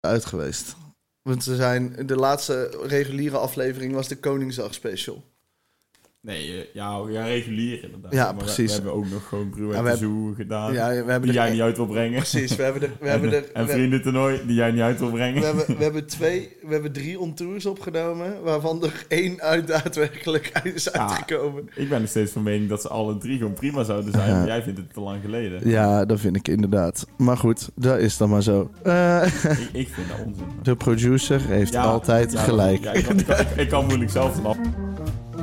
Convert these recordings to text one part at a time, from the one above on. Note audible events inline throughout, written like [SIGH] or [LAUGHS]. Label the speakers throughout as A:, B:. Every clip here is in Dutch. A: uit geweest. Want ze zijn, de laatste reguliere aflevering was de Koningsdag special.
B: Nee, eh, ja, ja, regulier inderdaad.
A: Ja,
B: Maar we- We,
A: precies.
B: hebben ook nog gewoon Brew
A: Ja,
B: en
A: we
B: Zoo gedaan.
A: Ja, we hebben
B: die
A: er-
B: jij niet uit wil brengen.
A: Precies, we hebben er, we hebben
B: en,
A: er,
B: [LAUGHS] en
A: we-
B: vriendentoernooi die jij niet uit wil
A: we,
B: brengen.
A: hebben, we hebben twee, we hebben drie ontours opgenomen, waarvan er één uit daadwerkelijk is
B: Ah.
A: uitgekomen.
B: Ik ben nog steeds van mening dat ze alle drie gewoon prima zouden zijn.
A: Ja.
B: maar Jij vindt het te lang geleden.
A: Ja, dat vind ik inderdaad. Maar goed, dat is dan maar zo. Eh,
B: Ik, ik vind dat onzin.
A: de producer heeft
B: Ja,
A: altijd
B: ja, dat-
A: gelijk.
B: ja, ik, kan, ik kan- ik kan moeilijk zelf eraf.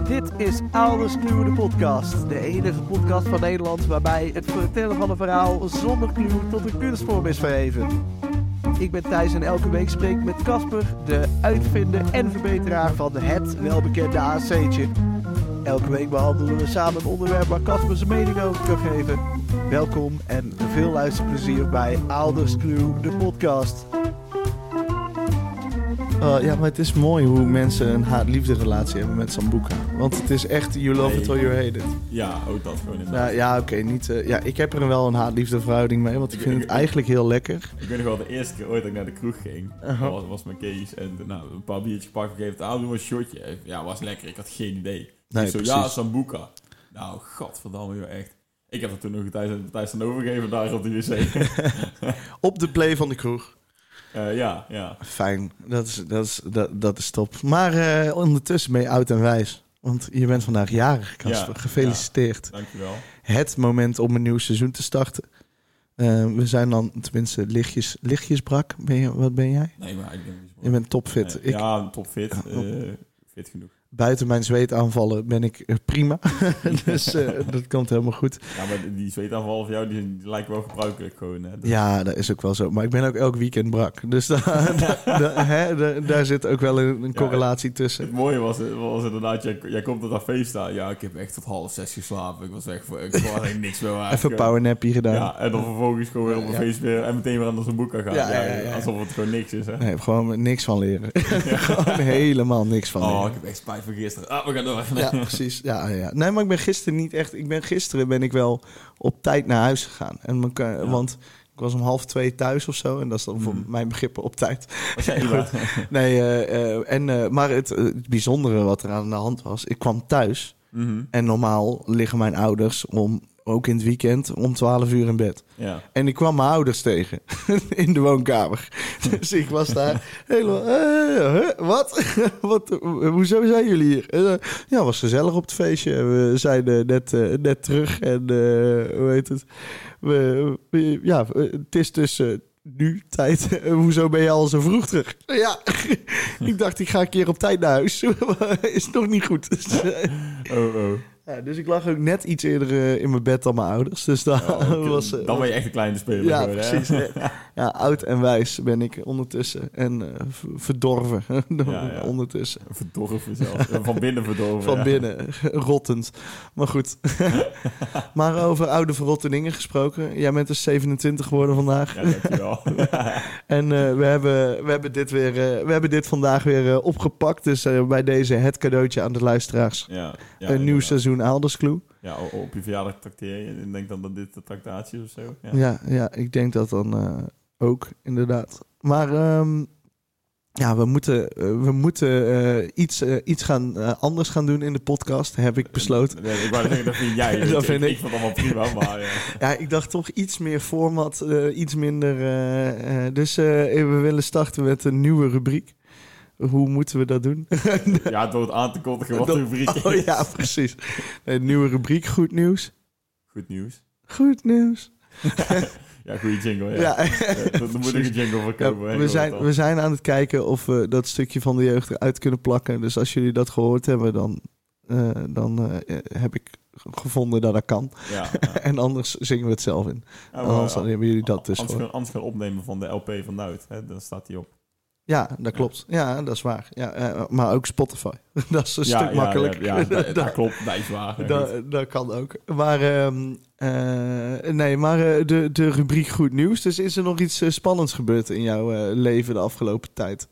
C: Dit is Ouders Kluwen de podcast. De enige podcast van Nederland waarbij het vertellen van een verhaal zonder kluw tot een kunstvorm is verheven. Ik ben Thijs en elke week spreek ik met Casper, de uitvinder en verbeteraar van het welbekende AC'tje. Elke week behandelen we samen een onderwerp waar Casper zijn mening over kan geven. Welkom en veel luisterplezier bij Ouders Kluwen de podcast.
A: Eh, ja, maar het is mooi hoe mensen een haat-liefde relatie hebben met Sambuca. Want het is echt, you love
B: Nee.
A: it till you hate it.
B: Ja, ook dat gewoon inderdaad.
A: Nou, ja, oké, niet... eh, ja, ik heb er wel een haat-liefde verhouding mee, want ik vind het eigenlijk heel lekker.
B: Ik weet nog wel de eerste keer ooit dat ik naar de kroeg ging.
A: Uh-huh.
B: Dat was, was mijn case. En nou, een paar biertjes gepakt. Ik geef het aan, doe een shotje. Ja, was lekker. Ik had geen idee.
A: Nee,
B: ik zo,
A: precies.
B: ja, Sambuca. Nou, godverdamme, joh, echt. Ik heb dat toen nog Thijs en Thijs dan overgegeven daar op de wc.
A: [LAUGHS] Op de play van de kroeg.
B: Eh, ja, ja.
A: Fijn, dat is, dat is, dat, dat is top. Maar eh, ondertussen ben je oud en wijs. Want je bent vandaag jarig, Casper.
B: Ja,
A: Gefeliciteerd.
B: Dankjewel.
A: Het moment om een nieuw seizoen te starten. Eh, we zijn dan, tenminste, lichtjes, lichtjes brak. Ben je, wat ben jij?
B: Nee, maar ik ben niet zo-
A: Je bent topfit.
B: Nee,
A: ik,
B: Ja, topfit. eh, fit genoeg.
A: Buiten mijn zweetaanvallen ben ik eh, prima. [LAUGHS] dus eh, dat komt helemaal goed.
B: Ja, maar die- die zweetaanval van jou, die, die lijkt wel gebruikelijk gewoon. Hè. Dat-
A: Ja, dat is ook wel zo. Maar ik ben ook elk weekend brak. Dus da- [LAUGHS] da- da- hè, da- daar zit ook wel een, een correlatie tussen.
B: Het mooie was, eh, was inderdaad, jij, jij komt op dat feest aan. Ja, ik heb echt tot half zes geslapen. Ik was echt voor, ik was echt niks meer waard.
A: Even een powernappie gedaan.
B: Ja, en dan vervolgens gewoon weer op een
A: Ja.
B: feest weer en meteen weer aan zijn boek gaan. Ja,
A: Ja, ja, ja, Oh, ja.
B: Alsof het gewoon niks is, hè.
A: Nee, gewoon niks van [LAUGHS] leren. gewoon helemaal niks van
B: Oh,
A: leren.
B: ik heb echt spijt van gisteren. Ah, we gaan door.
A: Ja, precies. Ja, ja, ja. Nee, maar ik ben gisteren niet echt. Ik ben gisteren ben ik wel op tijd naar huis gegaan. En mijn, ka- Want ik was om half twee thuis of zo. En dat is dan voor mijn begrippen op tijd.
B: Was
A: [LAUGHS]
B: jij goed?
A: Nee, eh, eh, en, eh, maar het, eh, het bijzondere wat er aan de hand was, ik kwam thuis en normaal liggen mijn ouders om, ook in het weekend om 12 uur in bed.
B: Ja.
A: En ik kwam mijn ouders tegen [LAUGHS] in de woonkamer. Dus ik was daar helemaal... eh, huh? wat? [LAUGHS] wat? Hoezo zijn jullie hier? En, eh, ja, het was gezellig op het feestje. We zijn eh, net, eh, net terug en eh, hoe heet het? We, we- ja, eh, het is dus eh, nu tijd. [LAUGHS] Hoezo ben je al zo vroeg terug? [LAUGHS] Ja, ik dacht ik ga een keer op tijd naar huis. [LAUGHS] is nog niet goed. [LAUGHS] Dus, eh,
B: Oh, oh.
A: ja, dus ik lag ook net iets eerder eh, in mijn bed dan mijn ouders. Dus daar
B: Oh,
A: [LAUGHS]
B: Oké,
A: was... eh,
B: dan ben je echt een kleine speler.
A: ja,
B: geworden, hè?
A: precies. ja, oud en wijs ben ik ondertussen. En eh, v- verdorven [LAUGHS]
B: Ja, ja.
A: ondertussen.
B: [LAUGHS] Verdorven zelfs. Eh, Van binnen verdorven.
A: Van
B: ja.
A: binnen, [LAUGHS] rottend. Maar
B: [LAUGHS]
A: goed. maar over oude verrotte dingen gesproken. Jij bent dus 27 geworden vandaag.
B: Ja, dankjewel.
A: [LAUGHS] En eh, we, hebben, we, hebben dit weer, eh, we hebben dit vandaag weer eh, opgepakt. Dus eh, bij deze het cadeautje aan de luisteraars.
B: ja, ja,
A: een nieuw
B: inderdaad.
A: seizoen Aalderskloe.
B: Ja, o- op je verjaardag trakteer je. Ik denk dan dat dit de tractatie is of zo. Ja.
A: Ja. Ja, ik denk dat dan eh, ook, inderdaad. Maar ehm, ja, we moeten, eh, we moeten eh, iets, eh, iets gaan, eh, anders gaan doen in de podcast, heb ik
B: [LAUGHS]
A: besloten.
B: Nee, ik wou zeggen, dat vind jij.
A: [LAUGHS] Dat
B: Ik-
A: vind
B: ik.
A: ik.
B: Ik vond het allemaal prima, maar... ja.
A: [LAUGHS] Ja, ik dacht toch iets meer format, eh, iets minder... eh, eh, dus eh, we willen starten met een nieuwe rubriek. Hoe moeten we dat
B: [LAUGHS]
A: doen?
B: Ja, door het aan te kondigen wat
A: Dat-
B: een rubriek
A: Oh
B: is.
A: ja, precies. Een nieuwe rubriek, goed nieuws.
B: Goed nieuws.
A: Goed nieuws.
B: Ja, goede jingle. [LAUGHS]
A: Ja,
B: Ja. Ja, dan moet ik een jingle voor
A: Ja,
B: kopen. hè,
A: we, zijn,
B: hoor
A: we
B: het
A: zijn aan het kijken of we dat stukje van de jeugd eruit kunnen plakken. Dus als jullie dat gehoord hebben, dan, eh, dan eh, heb ik gevonden dat dat kan.
B: al.
A: [LAUGHS]
B: Ja, ja.
A: En anders zingen we het zelf in.
B: Ja, maar,
A: anders dan
B: eh,
A: hebben jullie dat dus
B: anders,
A: gehoord.
B: gaan, anders gaan opnemen van de LP van Nout. Hè? Dan staat die op.
A: Ja, dat klopt. Ja, dat is waar. Ja, eh, maar ook Spotify. [LAUGHS] dat is een
B: ja,
A: stuk
B: ja,
A: makkelijker. [LAUGHS]
B: Ja, ja, dat, dat
A: Dat-
B: klopt. Dat is waar. Ja, goed.
A: Dat, dat kan ook. Maar, ehm, eh, nee, maar eh, de, de rubriek Goed Nieuws. Dus is er nog iets eh, spannends gebeurd in jouw eh, leven de afgelopen tijd?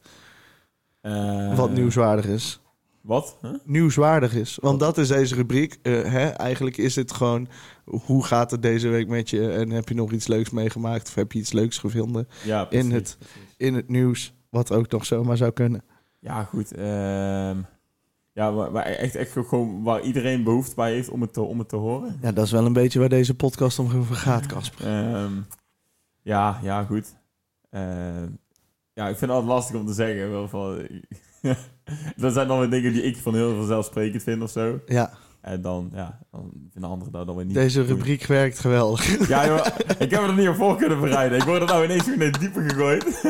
B: Eh,
A: Wat nieuwswaardig is?
B: Wat? Huh?
A: nieuwswaardig is. Want dat is deze rubriek. Eh, hè? Eigenlijk is het gewoon, hoe gaat het deze week met je? En heb je nog iets leuks meegemaakt? Of heb je iets leuks gevonden
B: Ja,
A: in
B: precies,
A: het,
B: precies.
A: in het nieuws? Wat ook nog zomaar zou kunnen.
B: Ja, goed. ehm, ja, waar, waar echt, echt gewoon waar iedereen behoefte bij heeft om het te, om het te horen.
A: Ja, dat is wel een beetje waar deze podcast om gaat, Kasper.
B: Ehm, ja, ja, goed. Ehm, ja, ik vind het altijd lastig om te zeggen. Wel van, [LAUGHS] dat zijn dan weer dingen die ik van heel vanzelfsprekend vind of zo.
A: Ja,
B: En dan, ja, dan vinden anderen dat dan weer niet.
A: deze
B: boeiend.
A: rubriek werkt geweldig. [LAUGHS]
B: Ja, joh, ik heb er nog niet op voor kunnen bereiden. Ik word er nou ineens weer in het diepe gegooid.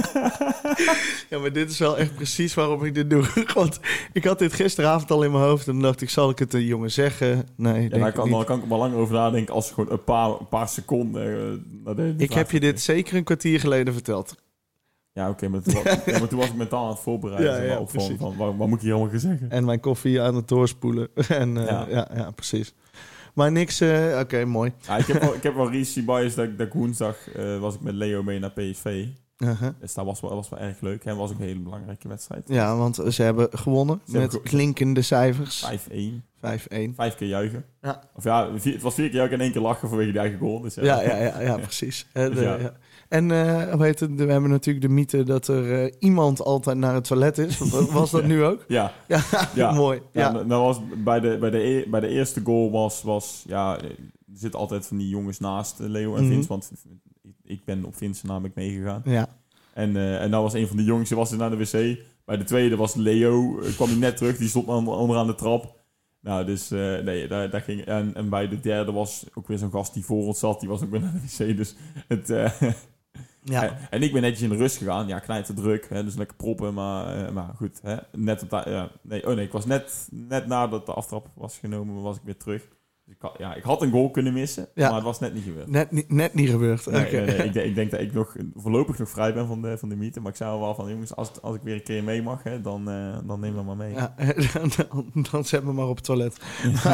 A: Ja, maar dit is wel echt precies waarom ik dit doe. [LAUGHS] Want ik had dit gisteravond al in mijn hoofd. En toen dacht ik, zal ik het de jongen zeggen? Nee,
B: Ja,
A: denk
B: daar
A: ik
B: kan,
A: niet.
B: daar kan ik wel lang over nadenken als gewoon een paar, een paar seconden. eh, naar de- die
A: Ik heb
B: vraag-
A: je dit zeker een kwartier geleden verteld.
B: Ja, oké, maar,
A: [LAUGHS]
B: toen was- ja, maar toen was ik mentaal aan het voorbereiden.
A: Ja,
B: zeg maar,
A: ja,
B: ook van-
A: precies.
B: van, wat, wat moet ik hier allemaal gaan
A: [LAUGHS]
B: zeggen?
A: En mijn koffie aan het doorspoelen. [LAUGHS] En eh,
B: Ja.
A: ja. Ja, precies. Maar niks... eh, Oké, mooi.
B: Ja, ik, heb wel, ik heb wel recency bias dat, ik- dat ik woensdag eh, was ik met Leo mee naar PSV.
A: Uh-huh.
B: Dus dat was wel, was wel erg leuk. En was ook een hele belangrijke wedstrijd.
A: Ja, want ze hebben gewonnen
B: Ze hebben
A: met
B: gewonnen.
A: klinkende cijfers.
B: 5-1.
A: 5-1.
B: Vijf keer juichen.
A: Ja.
B: Of ja, vier- het was vier keer juichen en één keer lachen vanwege die eigen goal. Dus ja,
A: Ja, ja, ja, ja,
B: [LAUGHS]
A: precies. En, eh,
B: Ja.
A: ja. En eh, hoe heet het? We hebben natuurlijk de mythe dat er eh, iemand altijd naar het toilet
B: [LAUGHS]
A: is. Was dat nu ook? [LAUGHS]
B: Ja,
A: Ja, [LAUGHS]
B: Ja.
A: mooi.
B: Ja,
A: Ja.
B: nou nou was bij de, bij, de, e- bij de eerste goal was, was ja, eh, er zitten altijd van die jongens naast eh, Leo en
A: Mhm.
B: Vince, want ik- ik ben op Vince namelijk meegegaan.
A: ja.
B: En, eh, en dan was een van die jongens, die was dus naar de wc. Bij de tweede was Leo, eh, kwam hij net terug, die stond onder- onderaan de trap. Nou, dus eh, nee, daar, daar ging... En, en bij de derde was ook weer zo'n gast die voor ons zat, die was ook weer naar de wc, dus het... eh, [LAUGHS]
A: Ja.
B: En, en ik ben netjes in de rust gegaan. Ja, knijt te druk. Hè, dus lekker proppen. Maar, eh, maar goed. Hè, net op tijd. ja, nee, oh nee, ik was net, net nadat de aftrap was genomen, was ik weer terug. Dus ik, had, ja, ik had een goal kunnen missen.
A: Ja.
B: Maar het was net niet gebeurd.
A: Net, niet- net niet gebeurd.
B: Nee,
A: Oké.
B: nee, nee, ik, denk- ik denk dat ik nog voorlopig nog vrij ben van de, van de mythe. Maar ik zei wel van jongens, als, het- als ik weer een keer mee mag, hè, dan, eh, dan neem dat maar mee.
A: Ja, [LAUGHS] dan, dan zet me maar op het toilet.
B: [LAUGHS]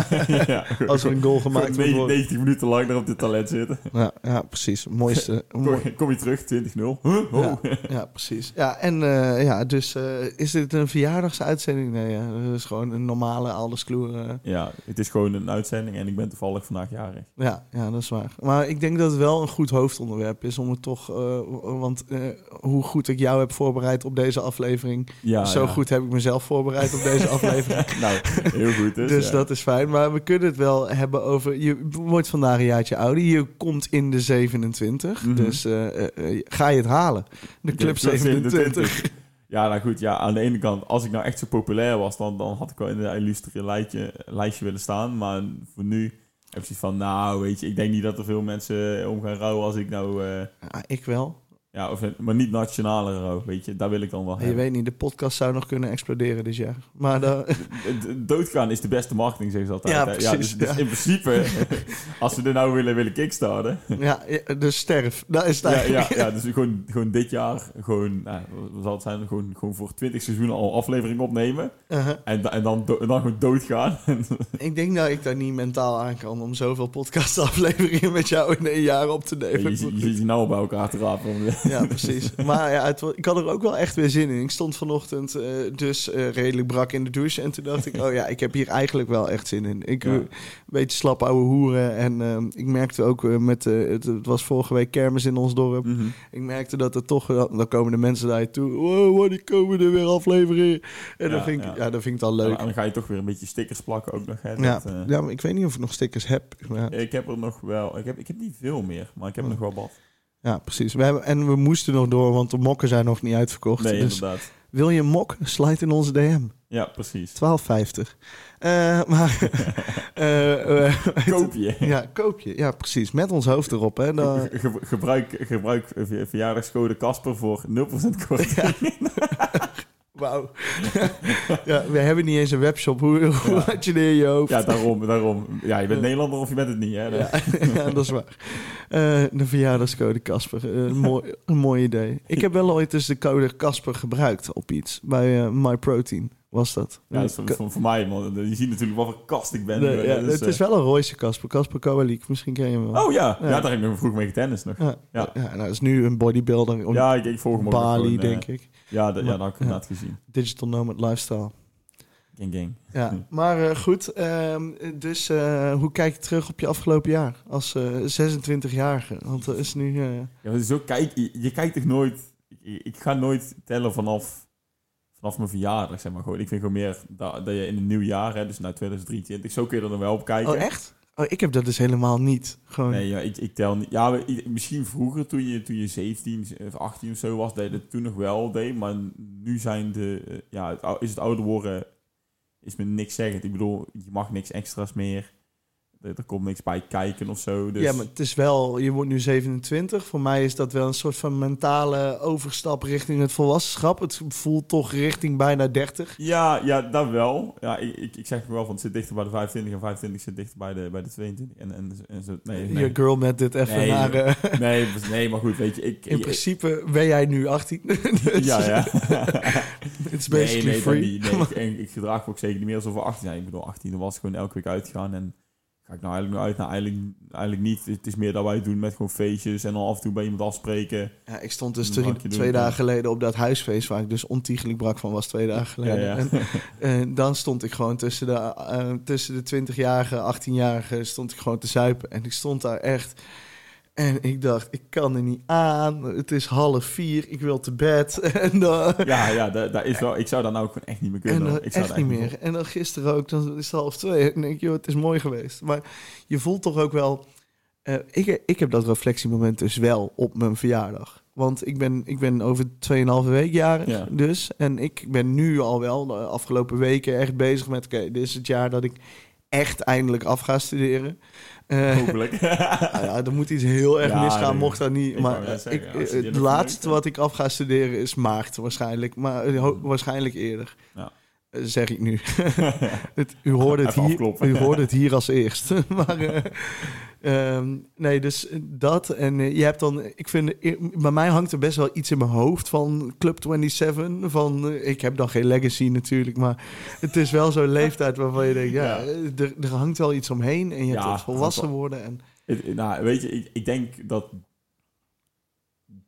B: Ja, goed.
A: Als er een
B: [LAUGHS]
A: goal
B: Gewoon
A: gemaakt wordt.
B: 90, 90 minuten lang daar op dit talent zitten.
A: Ja, ja, precies.
B: [LAUGHS]
A: Mooiste. [LAUGHS] mooi.
B: Kom, kom je terug, 20-0. Huh? Oh.
A: Ja, ja, precies. Ja, en eh, ja, dus eh, is dit een verjaardagsuitzending? Nee, ja, dat is gewoon een normale Alders Kloer. eh.
B: Ja, het is gewoon een uitzending en ik ben toevallig vandaag jarig.
A: ja, ja, dat is waar. Maar ik denk dat het wel een goed hoofdonderwerp is om het toch... eh, want eh, hoe goed ik jou heb voorbereid op deze aflevering...
B: Ja,
A: zo
B: ja.
A: goed heb ik mezelf voorbereid op
B: [LAUGHS]
A: deze aflevering. [LAUGHS]
B: nou, heel goed. Dus,
A: Dus,
B: ja.
A: dat is fijn. Maar we kunnen het wel hebben over... Je wordt vandaag een jaartje ouder. Je komt in de 27.
B: Mhm.
A: Dus eh, eh, eh, ga je het halen? De Club
B: Ja,
A: 27.
B: Ja, nou goed. Ja, aan de ene kant, als ik nou echt zo populair was, dan, dan had ik wel in een illustre lijstje, lijstje willen staan. Maar voor nu heb ik zoiets van, nou weet je, ik denk niet dat er veel mensen eh, om gaan rouwen als ik nou... eh,
A: Ja, ik wel.
B: ja, of, maar niet nationale rouw, weet je. Daar wil ik dan wel
A: Ja, je
B: hebben.
A: weet niet, de podcast zou nog kunnen exploderen dit jaar. Maar
B: [LAUGHS]
A: dan, [LAUGHS]
B: Het- het Doodgaan is de beste marketing, zeggen ze altijd.
A: Ja,
B: hè.
A: precies,
B: dus, dus
A: ja.
B: in
A: [LAUGHS]
B: principe, [LAUGHS] als we dit nou willen, willen kickstarten...
A: ja, ja, dus sterf. Daar is het
B: Ja, ja,
A: eigenlijk.
B: ja,
A: [LAUGHS]
B: dus gewoon, gewoon dit jaar, gewoon, nou, wat zal het zijn, gewoon, gewoon voor 20 seizoenen al een aflevering opnemen.
A: Uh-huh.
B: En, da- en, dan, do- en dan gewoon doodgaan. [LAUGHS]
A: Ik denk dat ik daar niet mentaal aan kan om zoveel podcastafleveringen met jou in één jaar op te
B: je,
A: nemen.
B: je zit je nou bij elkaar te rapen.
A: Ja, precies. Maar ja, het wa- ik had er ook wel echt weer zin in. Ik stond vanochtend eh, dus eh, redelijk brak in de douche. En toen dacht ik, oh ja, ik heb hier eigenlijk wel echt zin in. Ik
B: Ja.
A: eh, een beetje slap ouwe hoeren. En ehm, ik merkte ook eh, met, eh, het, het was vorige week kermis in ons dorp.
B: Mhm.
A: Ik merkte dat er toch, wel- dan komen de mensen naar je toe. Wow, wow, die komen er weer afleveringen. En
B: Ja,
A: dan vind ik,
B: ja.
A: ja. dat vind ik dan
B: Ja,
A: leuk.
B: en dan ga je toch weer een beetje stickers plakken ook nog. Hè,
A: Ja,
B: dat, eh,
A: ja, maar ik weet niet of ik nog stickers heb. Ja,
B: Ik heb er nog wel, ik heb, ik heb niet veel meer, maar
A: Oh.
B: ik heb er nog wel wat.
A: ja precies. We hebben, en we moesten nog door, want de mokken zijn nog niet uitverkocht.
B: Nee,
A: dus
B: inderdaad.
A: wil je een mok? Slide in onze DM.
B: Ja,
A: [LAUGHS]
B: precies.
A: 12,50. Eh, maar.
B: [LAUGHS]
A: eh, eh, [LAUGHS]
B: Koop je.
A: ja, koop je. Ja, precies. Met ons hoofd erop. Hè. Dan,
B: [LAUGHS] Ge- ge- gebruik, gebruik ver- verjaardagscode Casper voor 0% korting.
A: [LAUGHS] wauw. [LAUGHS] ja, we hebben niet eens een webshop. Hoe, hoe
B: Ja.
A: had je die in je hoofd?
B: Ja, daarom, daarom. Ja, je bent Nederlander of je bent het niet. Hè?
A: Ja, ja, [LAUGHS] dat is waar. Eh, de verjaardagscode Casper. Eh, een mooi, een mooi idee. Ik heb wel ooit eens de code Casper gebruikt op iets. Bij eh, MyProtein was dat.
B: Ja, dat is voor, voor, voor mij, man. Je ziet natuurlijk wat voor kast ik ben.
A: Nee,
B: Eh,
A: ja,
B: dus,
A: het
B: eh,
A: is wel een Royce Casper. Casper Koalik. Misschien ken je hem wel.
B: Oh ja. ja,
A: Ja.
B: daar heb ik nog vroeg mee getennis nog.
A: Ja,
B: ja.
A: ja. nou, dat is nu een bodybuilder. op
B: Ja, ik, ik volg hem ook nog
A: Bali,
B: gewoon, eh,
A: denk ik.
B: Ja, dat, ja, dat had ik
A: Ja.
B: inderdaad gezien.
A: Digital Nomad Lifestyle.
B: Gang, gang.
A: Ja, maar eh, goed. ehm, dus eh, hoe kijk je terug op je afgelopen jaar als eh 26-jarige? Want dat is nu... eh,
B: Ja, maar zo kijk, je, je kijkt toch nooit... Ik, ik ga nooit tellen vanaf, vanaf mijn verjaardag, zeg maar. Gewoon. Ik vind gewoon meer dat, dat je in een nieuw jaar, hè, dus na 2023, zo kun je er dan wel op kijken.
A: Oh, echt? Oh, ik heb dat dus helemaal niet. Gewoon...
B: Nee, ja, ik, ik tel niet. Ja, maar i- misschien vroeger, toen je, toen je 17 of 18 of zo was, dat je dat toen nog wel deed. Maar nu zijn de, eh, ja, het ou- is het ouder worden, is me niks zeggend. Ik bedoel, je mag niks extra's meer. Er er komt niks bij kijken of zo. Dus
A: Ja, maar het is wel... Je wordt nu 27. Voor mij is dat wel een soort van mentale overstap richting het volwassenschap. Het voelt toch richting bijna 30.
B: Ja, ja, dat wel. Ja, ik, ik, ik zeg wel van het zit dichter bij de 25 en 25 zit dichter bij de, bij de 22. En, en, en zo. Nee,
A: Your
B: nee.
A: girl met dit even
B: Nee,
A: naar... eh,
B: nee, dus- nee, maar goed, weet je. Ik,
A: in
B: ik-
A: principe ben jij nu [LAUGHS] 18. Dus
B: ja, ja.
A: [LAUGHS] It's
B: nee,
A: basically
B: nee, dat
A: free.
B: niet.
A: [LAUGHS]
B: Nee, ik, en ik gedraag me ook zeker niet meer alsof we 18 zijn. Ik bedoel, 18 was gewoon elke week uitgaan. En ga ik nou eigenlijk nog uit? Nou, eigenlijk, eigenlijk niet. Het is meer dat wij het doen met gewoon feestjes en dan af en toe bij iemand afspreken.
A: Ja, ik stond dus
B: Een
A: drie-
B: drankje doen,
A: twee
B: ja.
A: dagen geleden op dat huisfeest waar ik dus ontiegelijk brak van was twee dagen
B: Ja,
A: geleden.
B: ja.
A: En, eh, dan stond ik gewoon tussen de, eh, tussen de 20-jarige, 18-jarige stond ik gewoon te zuipen. En ik stond daar echt. En ik dacht, ik kan er niet aan. Het is half vier, ik wil te bed. [LAUGHS] En dan,
B: [LAUGHS] ja, ja dat, dat is wel. Ik zou dat nou ook gewoon echt niet meer
A: en
B: kunnen.
A: dan
B: ik zou
A: echt
B: dat
A: niet
B: meer
A: meer. En dan gisteren ook, dan is het half twee. [LAUGHS] En dan denk ik, joh, het is mooi geweest. Maar je voelt toch ook wel... eh, ik, ik heb dat reflectiemoment dus wel op mijn verjaardag. Want ik ben, ik ben over 2,5 week jarig
B: Ja.
A: dus. En ik ben nu al wel de afgelopen weken echt bezig met... Oké, dit is het jaar dat ik echt eindelijk af ga studeren. Eh,
B: Hopelijk. [LAUGHS]
A: nou ja, er moet iets heel erg
B: Ja,
A: misgaan,
B: nee.
A: mocht dat niet.
B: Ik
A: maar
B: wou net
A: eh,
B: zeggen,
A: ik-
B: als je
A: eh,
B: die
A: het
B: nog
A: laatste
B: leuk
A: wat ik af ga studeren is maart waarschijnlijk. Maar eh, ho- waarschijnlijk eerder.
B: Ja.
A: Eh, Zeg ik
B: [LAUGHS]
A: nu. het, u, hoorde het
B: Even
A: hier,
B: afkloppen.
A: u hoorde het hier als eerst. [LAUGHS] maar eh, ehm, nee, dus dat. En eh, je hebt dan, ik vind, eh, bij mij hangt er best wel iets in mijn hoofd van Club 27. Van, eh, ik heb dan geen legacy natuurlijk, maar het is wel zo'n leeftijd waarvan je denkt, ja,
B: Ja.
A: eh, Er, er hangt wel iets omheen. En je hebt
B: Ja,
A: het volwassen worden. En,
B: Het- nou, weet je, ik, ik denk dat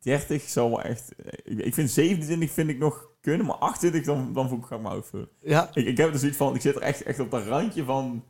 B: 30 zal wel echt. Ik, ik vind 27 vind ik nog kunnen, maar 28 dan, dan voel ik ga ik me oud voor.
A: ja,
B: Ik, ik heb er zoiets van, ik zit er echt, echt op dat randje van.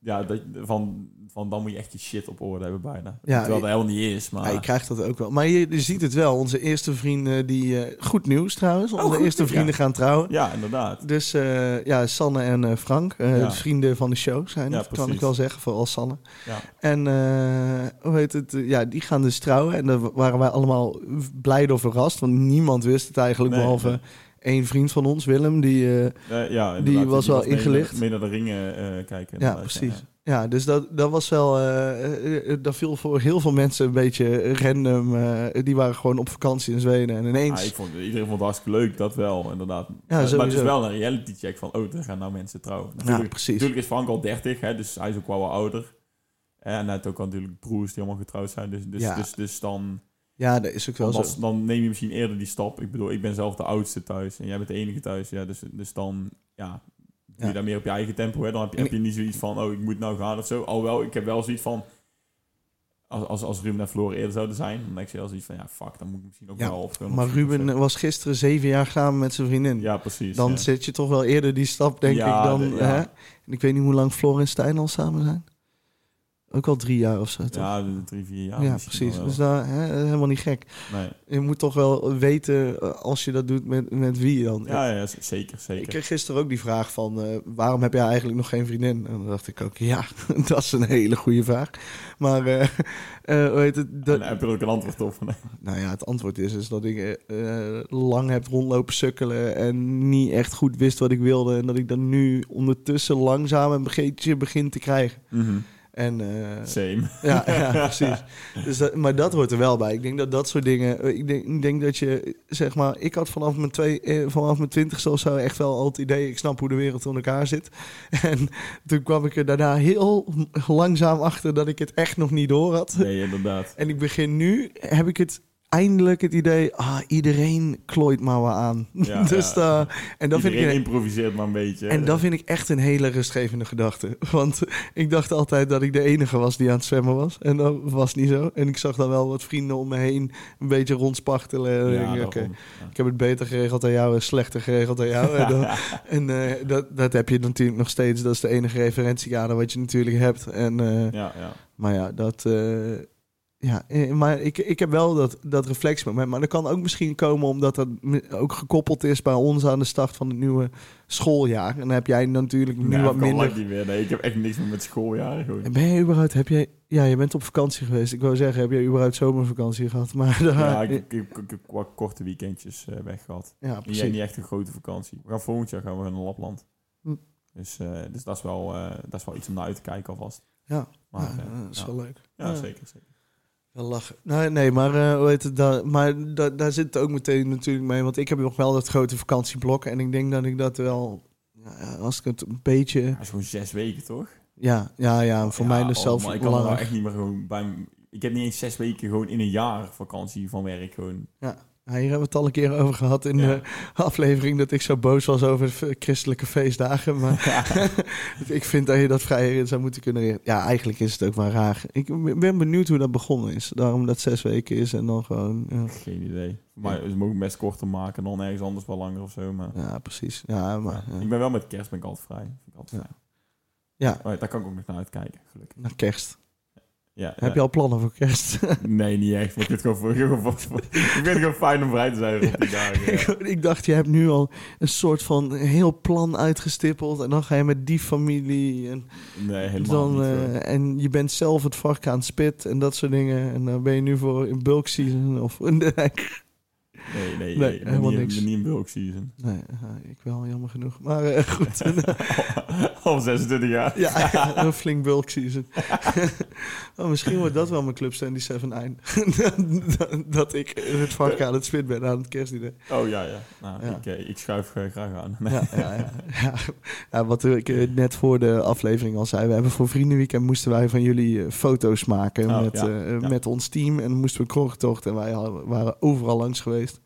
B: Ja, dat, van, van dan moet je echt je shit op orde hebben bijna.
A: Ja,
B: Terwijl
A: ik-
B: dat helemaal niet is, maar.
A: Ja, je krijgt dat ook wel. Maar je, je ziet het wel. Onze eerste vrienden die... eh, goed nieuws trouwens. Onze
B: Oh, goed
A: eerste
B: nieuws,
A: vrienden gaan trouwen.
B: Ja, inderdaad.
A: Dus eh, ja, Sanne en eh, Frank. eh,
B: Ja.
A: Vrienden van de show zijn
B: Ja,
A: het, kan
B: precies.
A: ik wel zeggen. Vooral Sanne.
B: Ja.
A: En eh, hoe heet het? eh, Ja, die gaan dus trouwen. En daar waren wij allemaal blij door verrast. Want niemand wist het eigenlijk.
B: Nee,
A: behalve
B: nee.
A: één vriend van ons, Willem. Die... eh,
B: Eh, ja, inderdaad,
A: was wel
B: mee naar-
A: ingelicht.
B: Mee naar de ringen eh, kijken.
A: ja,
B: inderdaad,
A: precies. Ja, dus dat, dat was wel... eh, eh, eh, dat viel voor heel veel mensen een beetje random. eh, die waren gewoon op vakantie in Zweden. En ineens...
B: Ah, ik vond, iedereen vond het hartstikke leuk, dat wel, inderdaad. Eh, maar, maar het
A: sowieso.
B: is wel een reality check van, oh, daar gaan nou mensen trouwen.
A: Ja,
B: Natuurlijk,
A: precies.
B: natuurlijk is Frank al 30, hè, dus hij is ook wel wat ouder. Eh, En hij heeft ook al natuurlijk broers die allemaal getrouwd zijn. Dus, dus,
A: Ja.
B: dus, dus dan,
A: Ja, dat is ook wel
B: dan,
A: zo.
B: dan neem je misschien eerder die stap. Ik bedoel, ik ben zelf de oudste thuis en jij bent de enige thuis. Ja, dus, dus dan ja, doe je
A: Ja.
B: daar meer op je eigen tempo. Hè. Dan heb je, heb je niet zoiets van, oh, ik moet nou gaan of zo. Alhoewel, ik heb wel zoiets van... Als, als, als Ruben en Floor eerder zouden zijn, dan denk ik zelfs iets van, ja, fuck, dan moet ik misschien ook
A: Ja,
B: wel opkomen.
A: Maar
B: of zo.
A: Ruben was gisteren zeven jaar samen met zijn vriendin.
B: Ja, precies.
A: dan
B: ja.
A: zet je toch wel eerder die stap, denk
B: Ja,
A: ik, dan...
B: de- ja.
A: hè? En ik weet niet hoe lang Flor en Stijn al samen zijn. Ook al drie jaar of zo, toch?
B: Ja, de drie, vier jaar.
A: Ja,
B: misschien
A: precies.
B: wel.
A: Dus daar, hè, helemaal niet gek.
B: nee.
A: Je moet toch wel weten, eh, als je dat doet, met, met wie dan.
B: ja, ja, z- zeker,
A: Ik
B: zeker.
A: eh, kreeg gisteren ook die vraag van, eh, waarom heb jij eigenlijk nog geen vriendin? En dan dacht ik ook, ja, [LAUGHS] dat is een hele goede vraag. Maar, eh eh, hoe heet het?
B: En
A: Dat,
B: daar heb je er ook een antwoord op. Nee.
A: Nou ja, het antwoord is, is dat ik eh, eh, lang heb rondlopen sukkelen en niet echt goed wist wat ik wilde. En dat ik dat nu ondertussen langzaam een begeetje begin te krijgen. En
B: [LAUGHS]
A: eh, [LAUGHS]
B: Same.
A: ja, ja, precies. Dus dat, maar dat hoort er wel bij. Ik denk dat dat soort dingen. eh, Ik denk, ik denk dat je, zeg maar, ik had vanaf mijn, twee, eh, vanaf mijn twintigste of zo echt wel al het idee, ik snap hoe de wereld in elkaar zit. [LAUGHS] En toen kwam ik er daarna heel langzaam achter dat ik het echt nog niet door had.
B: Nee, inderdaad.
A: En ik begin nu, heb ik het eindelijk het idee, ah, iedereen klooit maar wat aan. [LAUGHS]
B: Ja,
A: dus
B: ja.
A: daar- en dat vind ik
B: Iedereen improviseert maar een beetje.
A: en dat vind ik echt een hele rustgevende gedachte. [LAUGHS] Want ik dacht altijd dat ik de enige was die aan het zwemmen was. En dat was niet zo. En ik zag dan wel wat vrienden om me heen een beetje rondspartelen. En ik,
B: daarom.
A: denk, Eh, oké, ik heb het beter geregeld dan jou en slechter geregeld dan
B: [LAUGHS]
A: jou. En, dan- en eh, dat, dat heb je natuurlijk nog steeds. Dat is de enige referentiekader wat je natuurlijk hebt. En, eh,
B: Ja, ja.
A: Maar ja, dat... eh, ja, eh, maar ik, ik heb wel dat, dat reflexmoment. Maar dat kan ook misschien komen omdat dat mi- ook gekoppeld is bij ons aan de start van het nieuwe schooljaar. En dan heb jij natuurlijk nu
B: Ja,
A: wat
B: ik kan lang
A: minder.
B: Niet meer. Nee, ik heb echt niks meer met schooljaren. Gewoon.
A: En Ben je überhaupt, heb jij, ja, je bent op vakantie geweest. Ik wou zeggen, heb jij überhaupt zomervakantie gehad? [LAUGHS] Maar
B: Ja,
A: daar,
B: ik,
A: ja,
B: ik, ik, ik heb qua korte weekendjes eh, weg gehad.
A: precies.
B: Niet, niet echt een grote vakantie. We gaan volgend jaar gaan we naar Lapland.
A: Hm.
B: Dus, eh, dus dat, is wel, eh, dat is wel iets om naar uit te kijken alvast.
A: Ja.
B: Maar,
A: Ja,
B: eh,
A: dat is
B: ja.
A: wel leuk.
B: Ja,
A: Ja.
B: zeker. zeker.
A: Wel lachen. Nee, nee maar, eh, hoe heet het, daar, maar da- daar zit het ook meteen natuurlijk mee. Want ik heb nog wel dat grote vakantieblok. En ik denk dat ik dat wel, ja, als ik het een beetje...
B: Ja, zo'n zes weken toch?
A: Ja, ja, ja voor
B: Ja,
A: mij dus
B: oh,
A: zelf
B: maar ik kan er nou
A: belangrijk.
B: echt niet meer gewoon bij. m- Ik heb niet eens zes weken gewoon in een jaar vakantie van werk. Gewoon.
A: Ja, hier hebben we het al een keer over gehad in
B: Ja.
A: de aflevering... dat ik zo boos was over v- christelijke feestdagen. Maar [LAUGHS] ik vind dat je dat vrijer zou moeten kunnen regelen. Ja, eigenlijk is het ook maar raar. Ik ben benieuwd hoe dat begonnen is. Daarom dat zes weken is en dan gewoon... Ja,
B: Geen idee. Maar ze mogen best korter maken dan ergens anders wel langer of zo. Maar,
A: ja precies. Ja, maar...
B: ja.
A: ja.
B: Ik ben wel met kerst ben ik altijd vrij. Vind ik altijd
A: Ja.
B: vrij.
A: Ja.
B: Maar daar kan ik ook nog naar uitkijken, gelukkig.
A: Naar kerst.
B: Ja,
A: Heb je al plannen voor kerst?
B: Nee, niet echt. Maar ik vind het gewoon, gewoon, gewoon- ik vind het gewoon fijn om vrij te zijn op die dagen.
A: [LAUGHS] ik, ik dacht, je hebt nu al een soort van heel plan uitgestippeld. En dan ga je met die familie. En,
B: Nee, helemaal
A: dan,
B: niet.
A: eh,
B: hoor.
A: en je bent zelf het vark aan het spit en dat soort dingen. En dan ben je nu voor in bulk season. Of, nee,
B: nee, nee,
A: nee,
B: ik ben
A: helemaal
B: niet,
A: niks.
B: Ik ben niet in bulk
A: [LAUGHS]
B: season.
A: nee, eh, ik wel, jammer genoeg. Maar eh,
B: [LAUGHS]
A: goed,
B: Al 26 jaar.
A: ja, [LAUGHS] een flink bulk season. [LAUGHS] oh, misschien wordt dat wel mijn Club 77 eind. [LAUGHS] dat, dat ik het vark aan het spit ben aan het kerstdiner.
B: Oh ja, ja. Nou,
A: Ja.
B: Ik, eh, ik schuif eh, graag aan. [LAUGHS] Nee.
A: [LAUGHS] Ja, ja, ja. ja. Ja, wat ik eh, net voor de aflevering al zei, we hebben voor Vriendenweekend moesten wij van jullie eh, foto's maken
B: Oh,
A: met,
B: ja,
A: eh,
B: ja.
A: met ons team. En moesten we kroegtocht en wij hadden- waren overal langs geweest.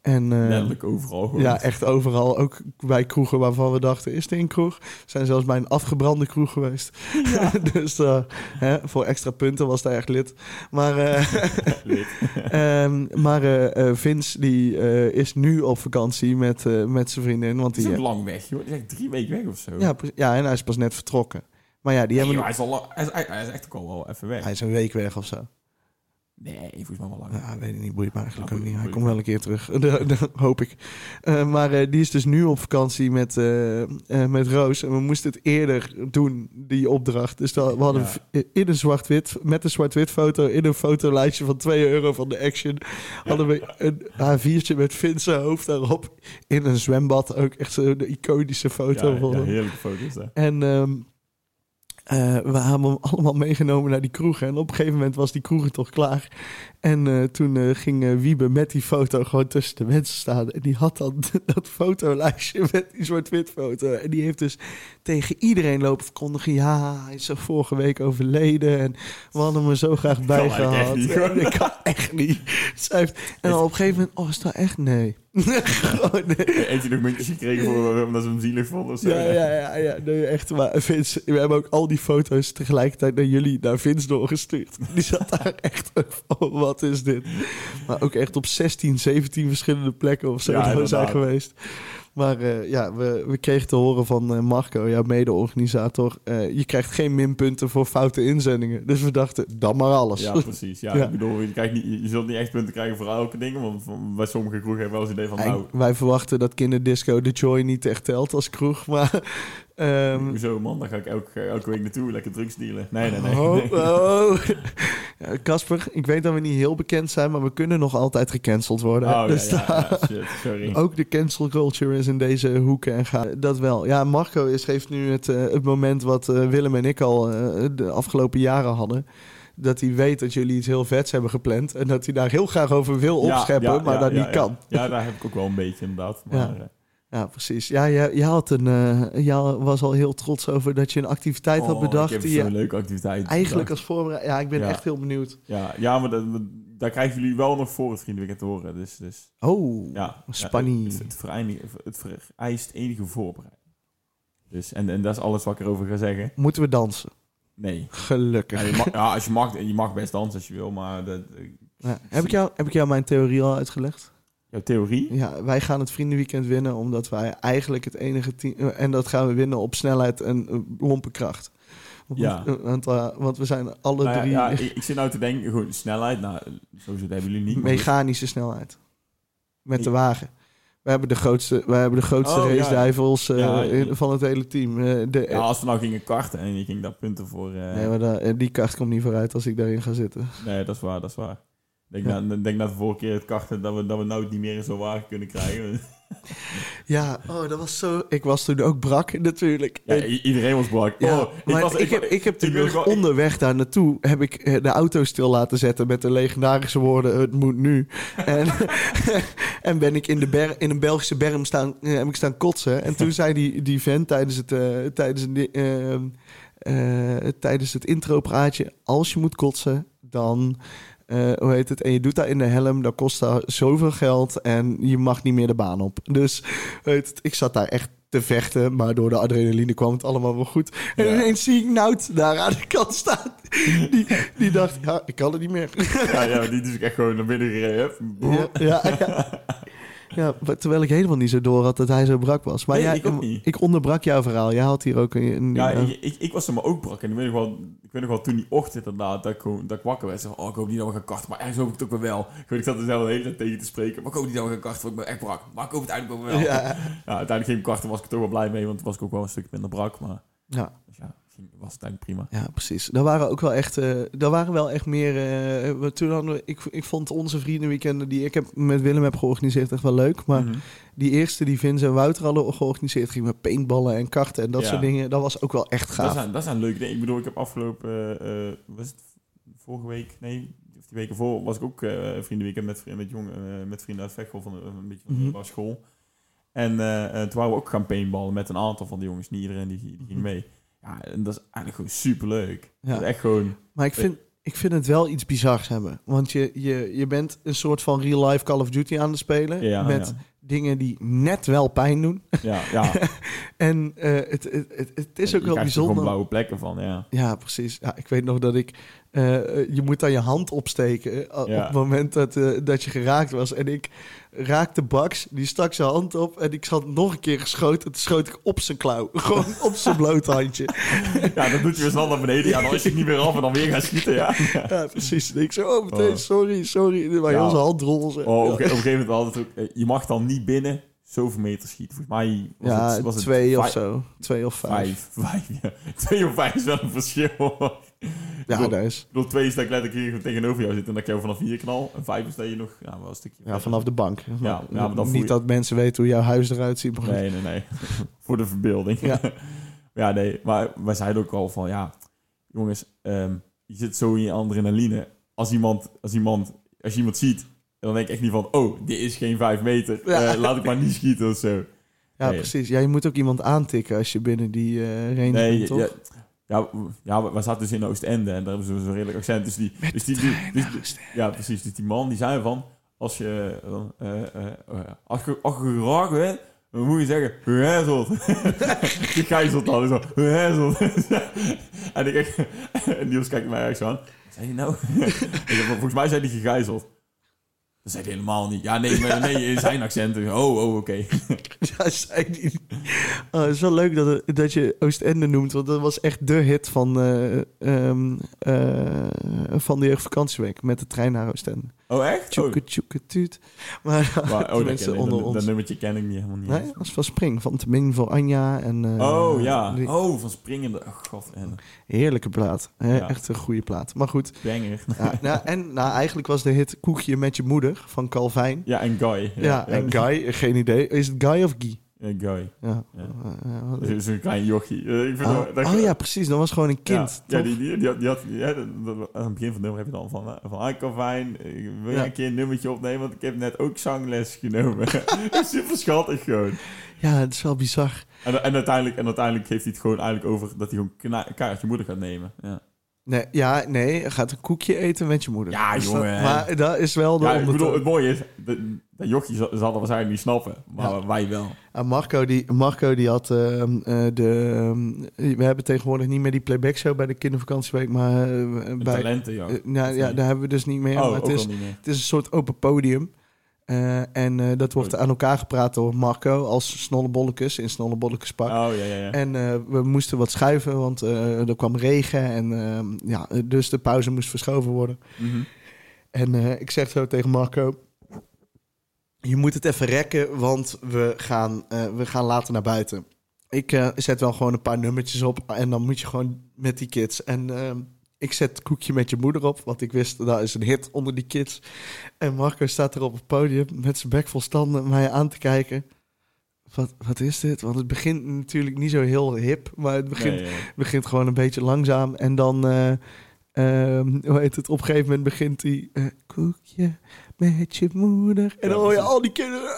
A: En, eh,
B: Letterlijk overal gewoon.
A: ja, echt overal. Ook bij kroegen waarvan we dachten, is dit een kroeg? We zijn zelfs bij een afgebrande kroeg geweest. [LAUGHS] dus eh, hè, voor extra punten was daar echt lid. Maar... eh,
B: [LAUGHS] Lid.
A: [LAUGHS] Ehm, maar eh, eh, Vince die, eh, is nu op vakantie met, eh, met zijn vriendin. Want
B: Het is
A: die,
B: ook lang weg, joh. Het is echt drie weken weg of zo.
A: ja, pre- ja, en hij is pas net vertrokken. Maar ja, die
B: Nee,
A: hebben
B: joh, hij, is al lang- hij, is, hij- hij is echt ook al wel even weg.
A: Hij is een week weg of zo.
B: Nee, volgens mij wel lang.
A: Ja, weet ik niet, boeit me eigenlijk
B: Nou,
A: ook niet. Hij
B: boeit- boeit
A: komt wel een keer terug, [LAUGHS] De- de- hoop ik. Eh, maar eh, die is dus nu op vakantie met, eh, eh, met Roos. En we moesten het eerder doen, die opdracht. Dus dat- we hadden
B: Ja.
A: v- in een zwart-wit, met een zwart-wit foto, in een fotolijstje van 2 euro van de Action, hadden we een A4'tje met Vince hoofd daarop. In een zwembad, ook echt zo'n iconische foto.
B: ja,
A: van
B: ja,
A: hem.
B: heerlijke foto's, hè.
A: En ehm, eh, we hebben hem allemaal meegenomen naar die kroeg. En op een gegeven moment was die kroeg toch klaar. En eh, toen eh, ging eh, Wiebe met die foto gewoon tussen de mensen staan. En die had dan [LAUGHS] dat fotolijstje met die zwart-wit foto. En die heeft dus tegen iedereen lopen verkondigen. Ja, hij is er vorige week overleden. En we hadden hem er zo graag bij
B: eigenlijk echt
A: gehad.
B: niet,
A: Ja,
B: hoor.
A: dat kan echt niet. Dus hij heeft- en dan op een gegeven moment, oh, is dat echt? Nee. [LAUGHS] Gewoon, nee.
B: [LAUGHS] Heeft hij nog muntjes gekregen voor, eh, omdat ze hem zielig vonden of zo?
A: Ja, ja, ja, ja. Nee, echt. Maar Vince, we hebben ook al die foto's tegelijkertijd naar jullie, naar Vince doorgestuurd. [LAUGHS] Die zat daar echt ook van, wat is dit? Maar ook echt op 16, 17 verschillende plekken of zo
B: Ja,
A: waar we zijn
B: inderdaad.
A: geweest. Maar eh, ja, we, we kregen te horen van eh, Marco, jouw mede-organisator... eh, je krijgt geen minpunten voor foute inzendingen. Dus we dachten, dan maar alles.
B: Ja, [LAUGHS] precies. Ja,
A: Ja.
B: Ik bedoel, je, krijgt niet, je zult niet echt punten krijgen voor elke ding, want van- bij sommige kroegen hebben we wel eens het idee van,
A: En
B: nou,
A: wij verwachten dat kinderdisco de Joy niet echt telt als kroeg, maar... [LAUGHS] ehm,
B: nou, hoezo man, daar ga ik elke, elke week naartoe, lekker drugs dealen. Nee, nee, nee.
A: Oh,
B: Nee. [LAUGHS]
A: oh. Ja, Casper, ik weet dat we niet heel bekend zijn, maar we kunnen nog altijd gecanceld worden.
B: Oh, ja,
A: dus
B: ja,
A: daar-
B: ja, shit, sorry.
A: [LAUGHS] Ook de cancel culture is in deze hoeken en ga dat wel. Ja, Marco is, heeft nu het, eh, het moment wat eh, Willem en ik al eh, de afgelopen jaren hadden. Dat hij weet dat jullie iets heel vets hebben gepland. En dat hij daar heel graag over wil
B: Ja,
A: opscheppen,
B: ja,
A: maar
B: ja,
A: dat
B: ja,
A: niet
B: ja.
A: kan.
B: Ja, daar heb ik ook wel een beetje inderdaad. Maar,
A: Ja.
B: eh,
A: Ja, precies. Ja, jij, jij had een, eh, jij was al heel trots over dat je een activiteit had
B: Oh,
A: bedacht
B: Ik heb
A: die je
B: zo'n leuke activiteit.
A: eigenlijk
B: bedacht.
A: als voorbereiding... Ja, ik ben
B: Ja.
A: echt heel benieuwd.
B: Ja, ja maar dat, dat- daar krijgen jullie wel nog voor het vriendenweekend te horen. Dus, dus
A: Oh,
B: ja.
A: Spanning.
B: Ja, het, het, vereini- het vereist enige voorbereiding. Dus, en, en dat is alles wat ik erover ga zeggen.
A: moeten we dansen?
B: Nee.
A: Gelukkig.
B: Ja,
A: [LAUGHS]
B: je mag, ja, als je, mag, je mag best dansen als je wil, maar dat, eh,
A: Ja. Heb, ik jou, heb ik jou mijn theorie al uitgelegd?
B: jouw theorie...
A: Ja, wij gaan het vriendenweekend winnen omdat wij eigenlijk het enige team... eh, En dat gaan we winnen op snelheid en eh, lompe kracht. Want,
B: Ja.
A: eh, want, eh, want we zijn alle
B: Nou ja,
A: drie
B: ja, ik, ik zit nou te denken, gewoon snelheid. Nou, sowieso dat hebben jullie niet. maar-
A: mechanische snelheid. Met de wagen. We hebben de grootste, we hebben de grootste
B: Oh, ja.
A: raceduivels eh,
B: Ja,
A: in-
B: ja.
A: van het hele team. Eh, de,
B: Ja, als we nou gingen karten en je ging daar punten voor... eh,
A: nee, maar da- eh, die kaart komt niet vooruit als ik daarin ga zitten.
B: Nee, dat is waar, dat is waar. Ik denk,
A: Ja.
B: na, ik denk dat de vorige keer het karten dat we, dat we nou het niet meer in zo'n wagen kunnen krijgen.
A: Ja, oh, dat was zo... Ik was toen ook brak [LAUGHS] natuurlijk.
B: ja,
A: En-
B: i- iedereen was brak.
A: Ja,
B: oh,
A: maar ik,
B: was,
A: heb, ik heb toen
B: weet
A: nog
B: nog wel- ik-
A: onderweg daar naartoe... heb ik eh, de auto stil laten zetten met de legendarische woorden... het moet nu. [LAUGHS] en, en ben ik in, de ber, in een Belgische berm staan, eh, heb ik staan kotsen. En toen zei die, die vent tijdens het, eh, tijdens, een di- ehm, eh, tijdens het intro-praatje... als je moet kotsen, dan... eh, hoe heet het? En je doet dat in de helm, dan kost dat zoveel geld en je mag niet meer de baan op. Dus hoe heet het? ik zat daar echt te vechten, maar door de adrenaline kwam het allemaal wel goed. En
B: Ja.
A: ineens zie ik Nout daar aan de kant staan. Die, die dacht, ja, ik kan het niet meer.
B: [LAUGHS] Ja, ja, die is ik echt gewoon naar binnen gereden. hup, boem.
A: Ja, ja, ja. Ja, maar terwijl ik helemaal niet zo door had dat hij zo brak was. Maar
B: Nee,
A: jij,
B: ik ook niet.
A: ik onderbrak jouw verhaal. Jij had hier ook een... een-
B: Ja,
A: een-
B: ik, ik, ik was er maar ook brak. En ik weet nog wel, ik weet nog wel toen die ochtend inderdaad, dat ik, gewoon, dat ik wakker werd. Zeg, oh, ik hoop niet dat we gaan karten, maar ergens hoop ik het ook wel wel. Ik, weet, ik zat er zelf de hele tijd tegen te spreken, maar ik hoop niet dat we gaan karten, want ik ben echt brak. Maar ik hoop het eigenlijk ook wel. Ja.
A: ja.
B: uiteindelijk ging ik karten, was ik er toch wel blij mee, want toen was ik ook wel een stuk minder brak. Maar
A: ja.
B: dus ja, ging- was het eigenlijk prima.
A: Ja, precies. Daar waren ook wel echt, eh daar waren wel echt meer. eh, we- toen hadden we- ik, ik vond onze vriendenweekenden die ik heb, met Willem heb georganiseerd echt wel leuk. Maar
B: Mhm.
A: die eerste die Vince en Wouter hadden georganiseerd, gingen met paintballen en karten en dat
B: Ja.
A: soort dingen. Dat was ook wel echt
B: Dat
A: gaaf.
B: zijn, dat zijn leuke dingen. Ik bedoel, ik heb afgelopen, eh, eh, was het vorige week? Nee, of die weken voor was ik ook eh vriendenweekend met, vri- met, jongen, eh, met vrienden uit Veghel van de- een beetje
A: Mhm.
B: van de middelbare school. En eh, eh, toen waren we ook gaan paintballen met een aantal van de jongens. Niet iedereen die, die ging mee. Ja, en dat is eigenlijk gewoon superleuk.
A: Mhm. Ja.
B: Dat is echt gewoon...
A: Maar ik vind, ik vind het wel iets bizars hebben. Want je, je, je bent een soort van real-life Call of Duty aan het spelen.
B: Ja,
A: Eh, met
B: ja.
A: dingen die net wel pijn doen.
B: Ja, ja.
A: En eh, het, het, het, het [LAUGHS] is
B: Je
A: ook wel
B: krijgt er gewoon
A: bijzonder.
B: blauwe plekken van, ja.
A: Ja, precies. Ja, ik weet nog dat ik... eh, eh, je moet dan je hand opsteken eh, op
B: Ja.
A: het moment dat, eh, dat je geraakt was. En ik raakte Bax, die stak zijn hand op en ik zat nog een keer geschoten. Toen schoot ik op zijn klauw. [LAUGHS] Gewoon op zijn bloot handje.
B: Ja, dat doet je weer snel naar beneden. Ja, dan is je niet meer af en dan weer gaan schieten, [LAUGHS] ja.
A: Ja, precies. En ik zo, oh, meteen,
B: Oh.
A: sorry, sorry. Maar
B: Ja.
A: heel zijn hand rolde.
B: Oh, op, een ge- op een gegeven moment hadden we het ook... eh, Je mag dan niet binnen zoveel meter schieten. Volgens mij was
A: ja,
B: het, was het
A: twee of
B: vijf-
A: zo. Twee of vijf.
B: Vijf. Vijf, ja. [LAUGHS] Twee of vijf is wel een verschil.
A: Ja,
B: bedoel-
A: dat is.
B: Ik bedoel, twee is dat ik letterlijk hier tegenover jou zit en dat ik jou vanaf hier knal. En vijf is dat je nog ja, wel een stukje...
A: Ja, vanaf de bank.
B: ja, maar dan voel je-
A: Niet dat mensen weten hoe jouw huis eruit ziet. maar goed.
B: Nee, nee, nee. [LAUGHS] Voor de verbeelding.
A: Ja.
B: [LAUGHS] ja, nee. Maar wij zeiden ook al van, ja... Jongens, ehm, je zit zo in je adrenaline. Als iemand, als iemand, als je iemand ziet, dan denk ik echt niet van... Oh, dit is geen vijf meter.
A: Ja.
B: Eh, laat ik maar niet schieten of zo.
A: Ja,
B: Nee.
A: precies. Ja, je moet ook iemand aantikken als je binnen die eh range
B: Nee,
A: bent, toch?
B: ja, ja, ja, we- we zaten dus in Oostende en daar hebben ze zo'n redelijk accent. Dus die, dus die, die- dus- ja, precies. Dus die man die zei van, als je eh, eh, eh, als je als je geraakt bent, dan moet je zeggen gehezeld. [LAUGHS] Je gijzelt dan dus zo gehezeld. [LAUGHS] en ik echt, en Niels kijkt mij echt zo aan. Wat zei je nou? [LAUGHS] Ik zeg, "Maar volgens mij zei hij gegijzeld. Dat zei hij helemaal niet. Ja, nee, maar, nee, in zijn accent. Oh, oh, oké.
A: [LAUGHS] Ja, zei die. Oh, het is wel leuk dat, dat je Oostende noemt, want dat was echt de hit van, eh, ehm, eh, van de jeugdvakantieweek met de trein naar Oostende.
B: Oh, echt? Oh,
A: Tjoeke, tjoeke, tuut. Maar [LAUGHS]
B: maar-
A: de
B: oh dat,
A: mensen
B: ken,
A: onder
B: dat,
A: ons.
B: dat nummertje ken ik niet helemaal niet.
A: nee, dat was van Spring, van Te Min voor Anja. En, eh,
B: Oh ja.
A: die-
B: Oh, van springende. Oh, god. En
A: Heerlijke plaat. hè,
B: Ja.
A: Echt een goede plaat. Maar goed.
B: banger.
A: Ja,
B: [LAUGHS]
A: nou, en nou, eigenlijk was de hit Koekje met je moeder van Calvijn.
B: Ja, en Guy.
A: Ja, en Guy, geen idee. Is het Guy of Guy?
B: Een guy.
A: Ja.
B: Ja.
A: Ja, wat-
B: Dus het is een klein jochie. Eh, ik vind
A: Oh,
B: wel- dat-
A: oh ja, precies. Dat was gewoon een kind.
B: Ja,
A: toch?
B: ja die, die, die had, die had- ja, dat- dat- aan het begin van het nummer heb je dan van, eh, van ah, Calvin, eh, wil jij
A: Ja.
B: een keer een nummertje opnemen? Want ik heb net ook zangles genomen. [LAUGHS] Super schattig gewoon.
A: Ja, het is wel bizar.
B: En, en, uiteindelijk, en uiteindelijk heeft hij het gewoon eigenlijk over dat hij gewoon kna- kaartje moeder gaat nemen. Ja,
A: Nee, ja, nee, hij gaat een koekje eten met je moeder.
B: Ja,
A: Dus dat-
B: jongen.
A: maar dat is wel de
B: ja ik
A: ondertoon.
B: bedoel, het mooie is, de, de jochie zal, zal dat waarschijnlijk niet snappen. Maar
A: Ja.
B: wij wel.
A: En Ah, Marco, die, Marco die had ehm, eh, de... ehm, we hebben tegenwoordig niet meer die playback show bij de kindervakantieweek, maar eh, bij...
B: talenten, ja.
A: eh, nou, ja, daar hebben we dus niet meer.
B: oh,
A: maar
B: ook
A: het
B: al
A: is,
B: niet meer.
A: het is een soort open podium. Eh, en eh, dat wordt
B: Oh.
A: aan elkaar gepraat door Marco als Snollebollekes in Snollebollekes Park.
B: Oh, ja, ja, ja.
A: En eh, we moesten wat schuiven, want eh, er kwam regen. En ehm, ja, dus de pauze moest verschoven worden.
B: Mhm.
A: En eh, ik zeg zo tegen Marco... Je moet het even rekken, want we gaan, eh, we gaan later naar buiten. Ik eh, zet wel gewoon een paar nummertjes op. En dan moet je gewoon met die kids. En ehm, ik zet Koekje met je moeder op. Want ik wist, dat is een hit onder die kids. En Marco staat er op het podium met zijn bek vol standen mij aan te kijken. Wat, wat is dit? Want het begint natuurlijk niet zo heel hip. Maar het begint
B: Nee, ja, ja.
A: begint gewoon een beetje langzaam. En dan, eh, ehm, hoe heet het, op een gegeven moment begint die eh, koekje met je moeder. En
B: Ja,
A: dan hoor je
B: precies.
A: al die kinderen.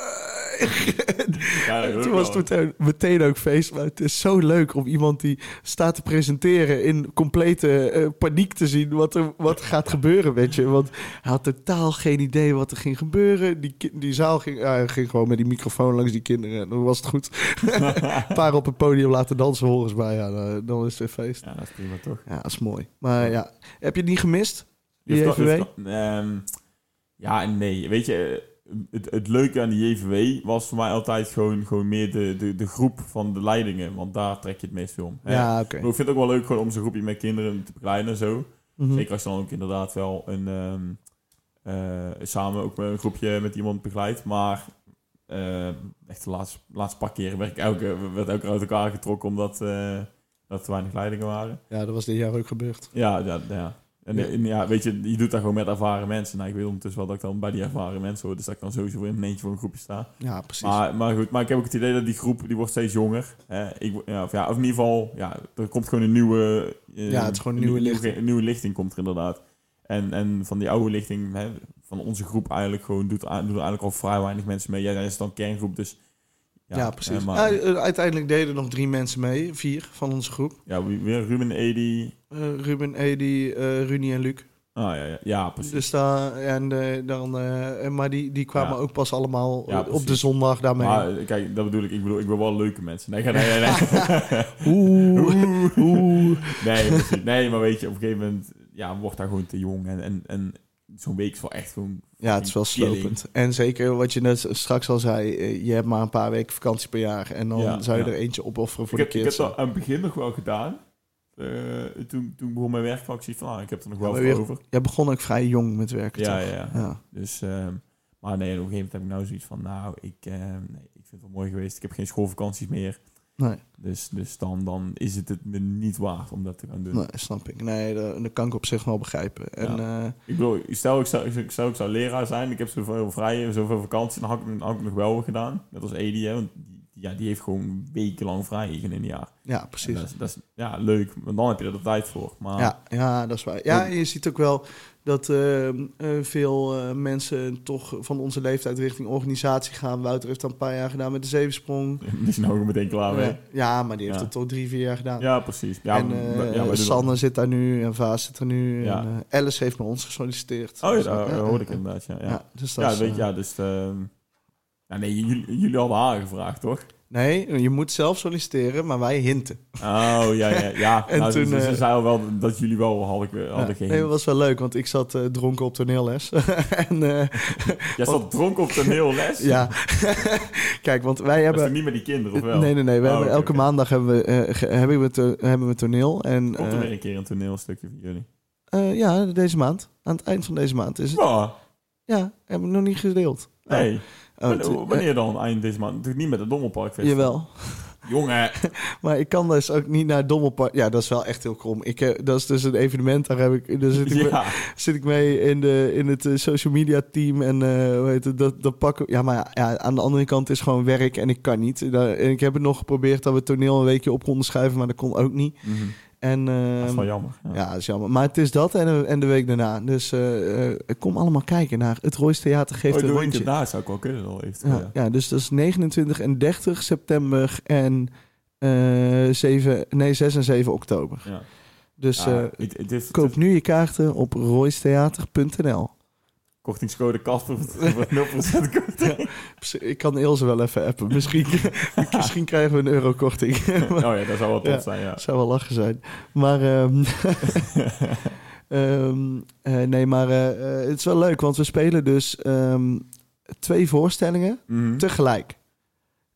B: Ja, dat
A: En
B: ook
A: toen was
B: wel.
A: het meteen, meteen ook feest. Maar het is zo leuk om iemand die staat te presenteren in complete eh, paniek te zien wat er wat gaat gebeuren, weet je. Want hij had totaal geen idee wat er ging gebeuren. Die, ki- die zaal ging, ja, hij ging gewoon met die microfoon langs die kinderen. En dan was het
B: [LAUGHS]
A: goed. een paar op het podium laten dansen, volgens mij. Ja, dan- dan is het weer feest.
B: Ja, dat is prima, toch?
A: Ja, dat is mooi. Maar ja, heb je het niet gemist? Die
B: Juf-
A: JVW?
B: Juf- Ehm, ja en nee. Weet je, eh, het, het leuke aan de JVW was voor mij altijd gewoon, gewoon meer de, de, de groep van de leidingen. Want daar trek je het meest om. hè.
A: Ja, oké.
B: Maar ik vind het ook wel leuk gewoon om zo'n groepje met kinderen te begeleiden en zo.
A: Mhm.
B: Zeker als je dan ook inderdaad wel een, ehm, eh, samen ook met een groepje met iemand begeleidt. Maar eh, echt de laatste, laatste paar keren werd ik elke, werd elke uit elkaar getrokken omdat eh, dat te weinig leidingen waren.
A: Ja, dat was dit jaar ook gebeurd.
B: Ja, ja, ja. En,
A: Ja.
B: en ja, weet je, je doet dat gewoon met ervaren mensen. Nou, ik weet ondertussen wel dat ik dan bij die ervaren mensen hoor. Dus dat ik dan sowieso in een eentje voor een groepje sta.
A: Ja, precies.
B: Maar, maar goed, maar ik heb ook het idee dat die groep, die wordt steeds jonger. Hè? Ik, wo- ja, of, ja, of in ieder geval, ja, er komt gewoon een nieuwe... eh,
A: Ja, het is gewoon een nieuwe lichting.
B: Nieuwe, een nieuwe lichting komt er inderdaad. En, en van die oude lichting, hè, van onze groep eigenlijk gewoon, doet, a- doen eigenlijk al vrij weinig mensen mee. Ja, dat is dan kerngroep, dus...
A: ja, precies. Nou,
B: hè, maar,
A: Ja, eh, uiteindelijk deden er nog drie mensen mee. Vier van onze groep.
B: ja, wie- weer Ruben, Edi...
A: Eh, Ruben, Edi, eh Runi en Luc.
B: Ah, ja, ja, ja, precies.
A: Dus daar, en eh, dan, eh, maar die, die kwamen
B: Ja.
A: ook pas allemaal
B: Ja,
A: op
B: precies.
A: de zondag daarmee.
B: Maar eh, kijk, dat bedoel ik. Ik bedoel, ik wil wel leuke mensen. Nee, nee, nee. Nee,
A: [LAUGHS] Oeh, oeh.
B: nee, precies. nee maar weet je, op een gegeven moment ja, wordt daar gewoon te jong. En, en, en zo'n week is wel echt gewoon...
A: Ja, het is wel
B: killing.
A: slopend. En zeker wat je net straks al zei, eh, je hebt maar een paar weken vakantie per jaar. En dan
B: Ja,
A: zou je
B: ja.
A: er eentje opofferen voor
B: ik, heb,
A: de
B: ik heb
A: kids.
B: dat aan het begin nog wel gedaan. Eh, toen, toen begon mijn werk, had ik zoiets van, ah, ik heb er nog wel
A: Ja,
B: voor
A: maar weer-
B: over.
A: Jij begon ook vrij jong met werken,
B: Ja,
A: toch?
B: ja, ja.
A: Ja.
B: Dus, ehm, maar nee, op een gegeven moment heb ik nou zoiets van, nou, ik, ehm, nee, ik vind het wel mooi geweest. Ik heb geen schoolvakanties meer.
A: Nee,
B: Dus, dus dan, dan is het het me niet waard om dat te gaan doen.
A: nee, snap ik. Nee, dat, dat kan ik op zich wel begrijpen. En, eh,
B: Ik bedoel, stel ik zou, ik zou, ik zou leraar zijn, ik heb zoveel vrije, zoveel vakantie, dan had ik, dan had ik nog wel gedaan. Net als Edi, hè, want die, ja, die heeft gewoon wekenlang vrij in een jaar.
A: ja,
B: En
A: precies.
B: dat, is, dat is ja, leuk, want dan heb je er de tijd voor. Maar [LAUGHS]
A: Ja, ja, dat is waar. Ja, en je ziet ook wel dat eh, eh, veel eh, mensen toch van onze leeftijd richting organisatie gaan. Wouter heeft dan een paar jaar gedaan met de zevenprong.
B: die is nou ook meteen klaar mee.
A: ja, ja, maar die heeft
B: Ja.
A: het toch drie, vier jaar gedaan.
B: Ja, precies. Ja,
A: en
B: we-
A: eh,
B: we- ja, wij doen
A: Sanne zit daar nu en Vaas zit er nu.
B: Ja.
A: En, eh, Alice heeft bij ons gesolliciteerd.
B: dat. Oh ja,
A: Dus,
B: daar
A: eh,
B: daar hoorde ik
A: eh,
B: inderdaad, ja.
A: Ja,
B: Ja,
A: dus dat
B: ja,
A: is,
B: weet je,
A: eh,
B: ja dus... ehm, ja, nee, jullie, jullie hadden haar gevraagd, toch?
A: Nee, je moet zelf solliciteren, maar wij hinten.
B: Oh, ja, ja.
A: [LAUGHS]
B: ja.
A: En
B: nou, ze-
A: toen,
B: ze, ze
A: eh,
B: zei al wel dat jullie wel hadden,
A: Ja.
B: hadden geen...
A: Nee, dat was wel leuk, want ik zat eh, dronken op toneelles. [LAUGHS] en eh,
B: [LAUGHS] Jij zat dronken op toneelles?
A: ja, kijk, want wij
B: Dat is
A: hebben...
B: toch niet met die kinderen, of wel?
A: Nee, nee, nee. We
B: Oh,
A: hebben,
B: oké,
A: elke
B: oké.
A: maandag hebben we, eh, ge- hebben, we to- hebben we toneel. En,
B: Komt er
A: eh,
B: weer een keer een toneelstukje van jullie?
A: eh, ja, deze maand. Aan het eind van deze maand is het.
B: Ja,
A: Ja, hebben we nog niet gedeeld.
B: nee.
A: Oh,
B: Wanneer-
A: het- eh,
B: Wanneer dan? Eind deze maand? Natuurlijk niet met het Dommelparkfest.
A: jawel. [LAUGHS]
B: Jongen.
A: Maar ik kan dus ook niet naar Dommelpark. Ja, dat is wel echt heel krom. Ik, eh, dat is dus een evenement, daar, heb ik, daar zit, ik me-
B: [LAUGHS] Ja.
A: zit ik mee in, de, in het eh, social media team. En eh, hoe heet het, dat, dat pakken Ja, maar ja, ja, aan de andere kant is gewoon werk en ik kan niet. Daar- en ik heb het nog geprobeerd dat we het toneel een weekje op konden schuiven, maar dat kon ook niet.
B: Mhm.
A: En,
B: Dat is
A: ehm,
B: wel jammer. Ja.
A: ja, dat is jammer. Maar het is dat en, en de week daarna. Dus eh, eh, kom allemaal kijken naar Het Royce Theater geeft
B: Oh,
A: een
B: de week
A: rondje.
B: daarna zou ik wel kunnen al even.
A: Ja, ja, dus dat is 29 en 30 september en eh 7, nee, 6 en 7 oktober.
B: Ja.
A: Dus eh,
B: ik, het is,
A: koop nu je kaarten op roycetheater.nl.
B: kortingscode Casper voor
A: [LAUGHS]
B: 0% korting.
A: Pss, Ik kan Ilse wel even appen. Misschien, [LAUGHS] misschien krijgen we een euro [LAUGHS] korting.
B: Oh ja, dat zou wel top
A: Ja.
B: zijn, ja.
A: zou wel lachen zijn. Maar, [LAUGHS] ehm, ehm, eh, nee, maar eh, eh, het is wel leuk, want we spelen dus ehm, twee voorstellingen
B: Mhm.
A: tegelijk.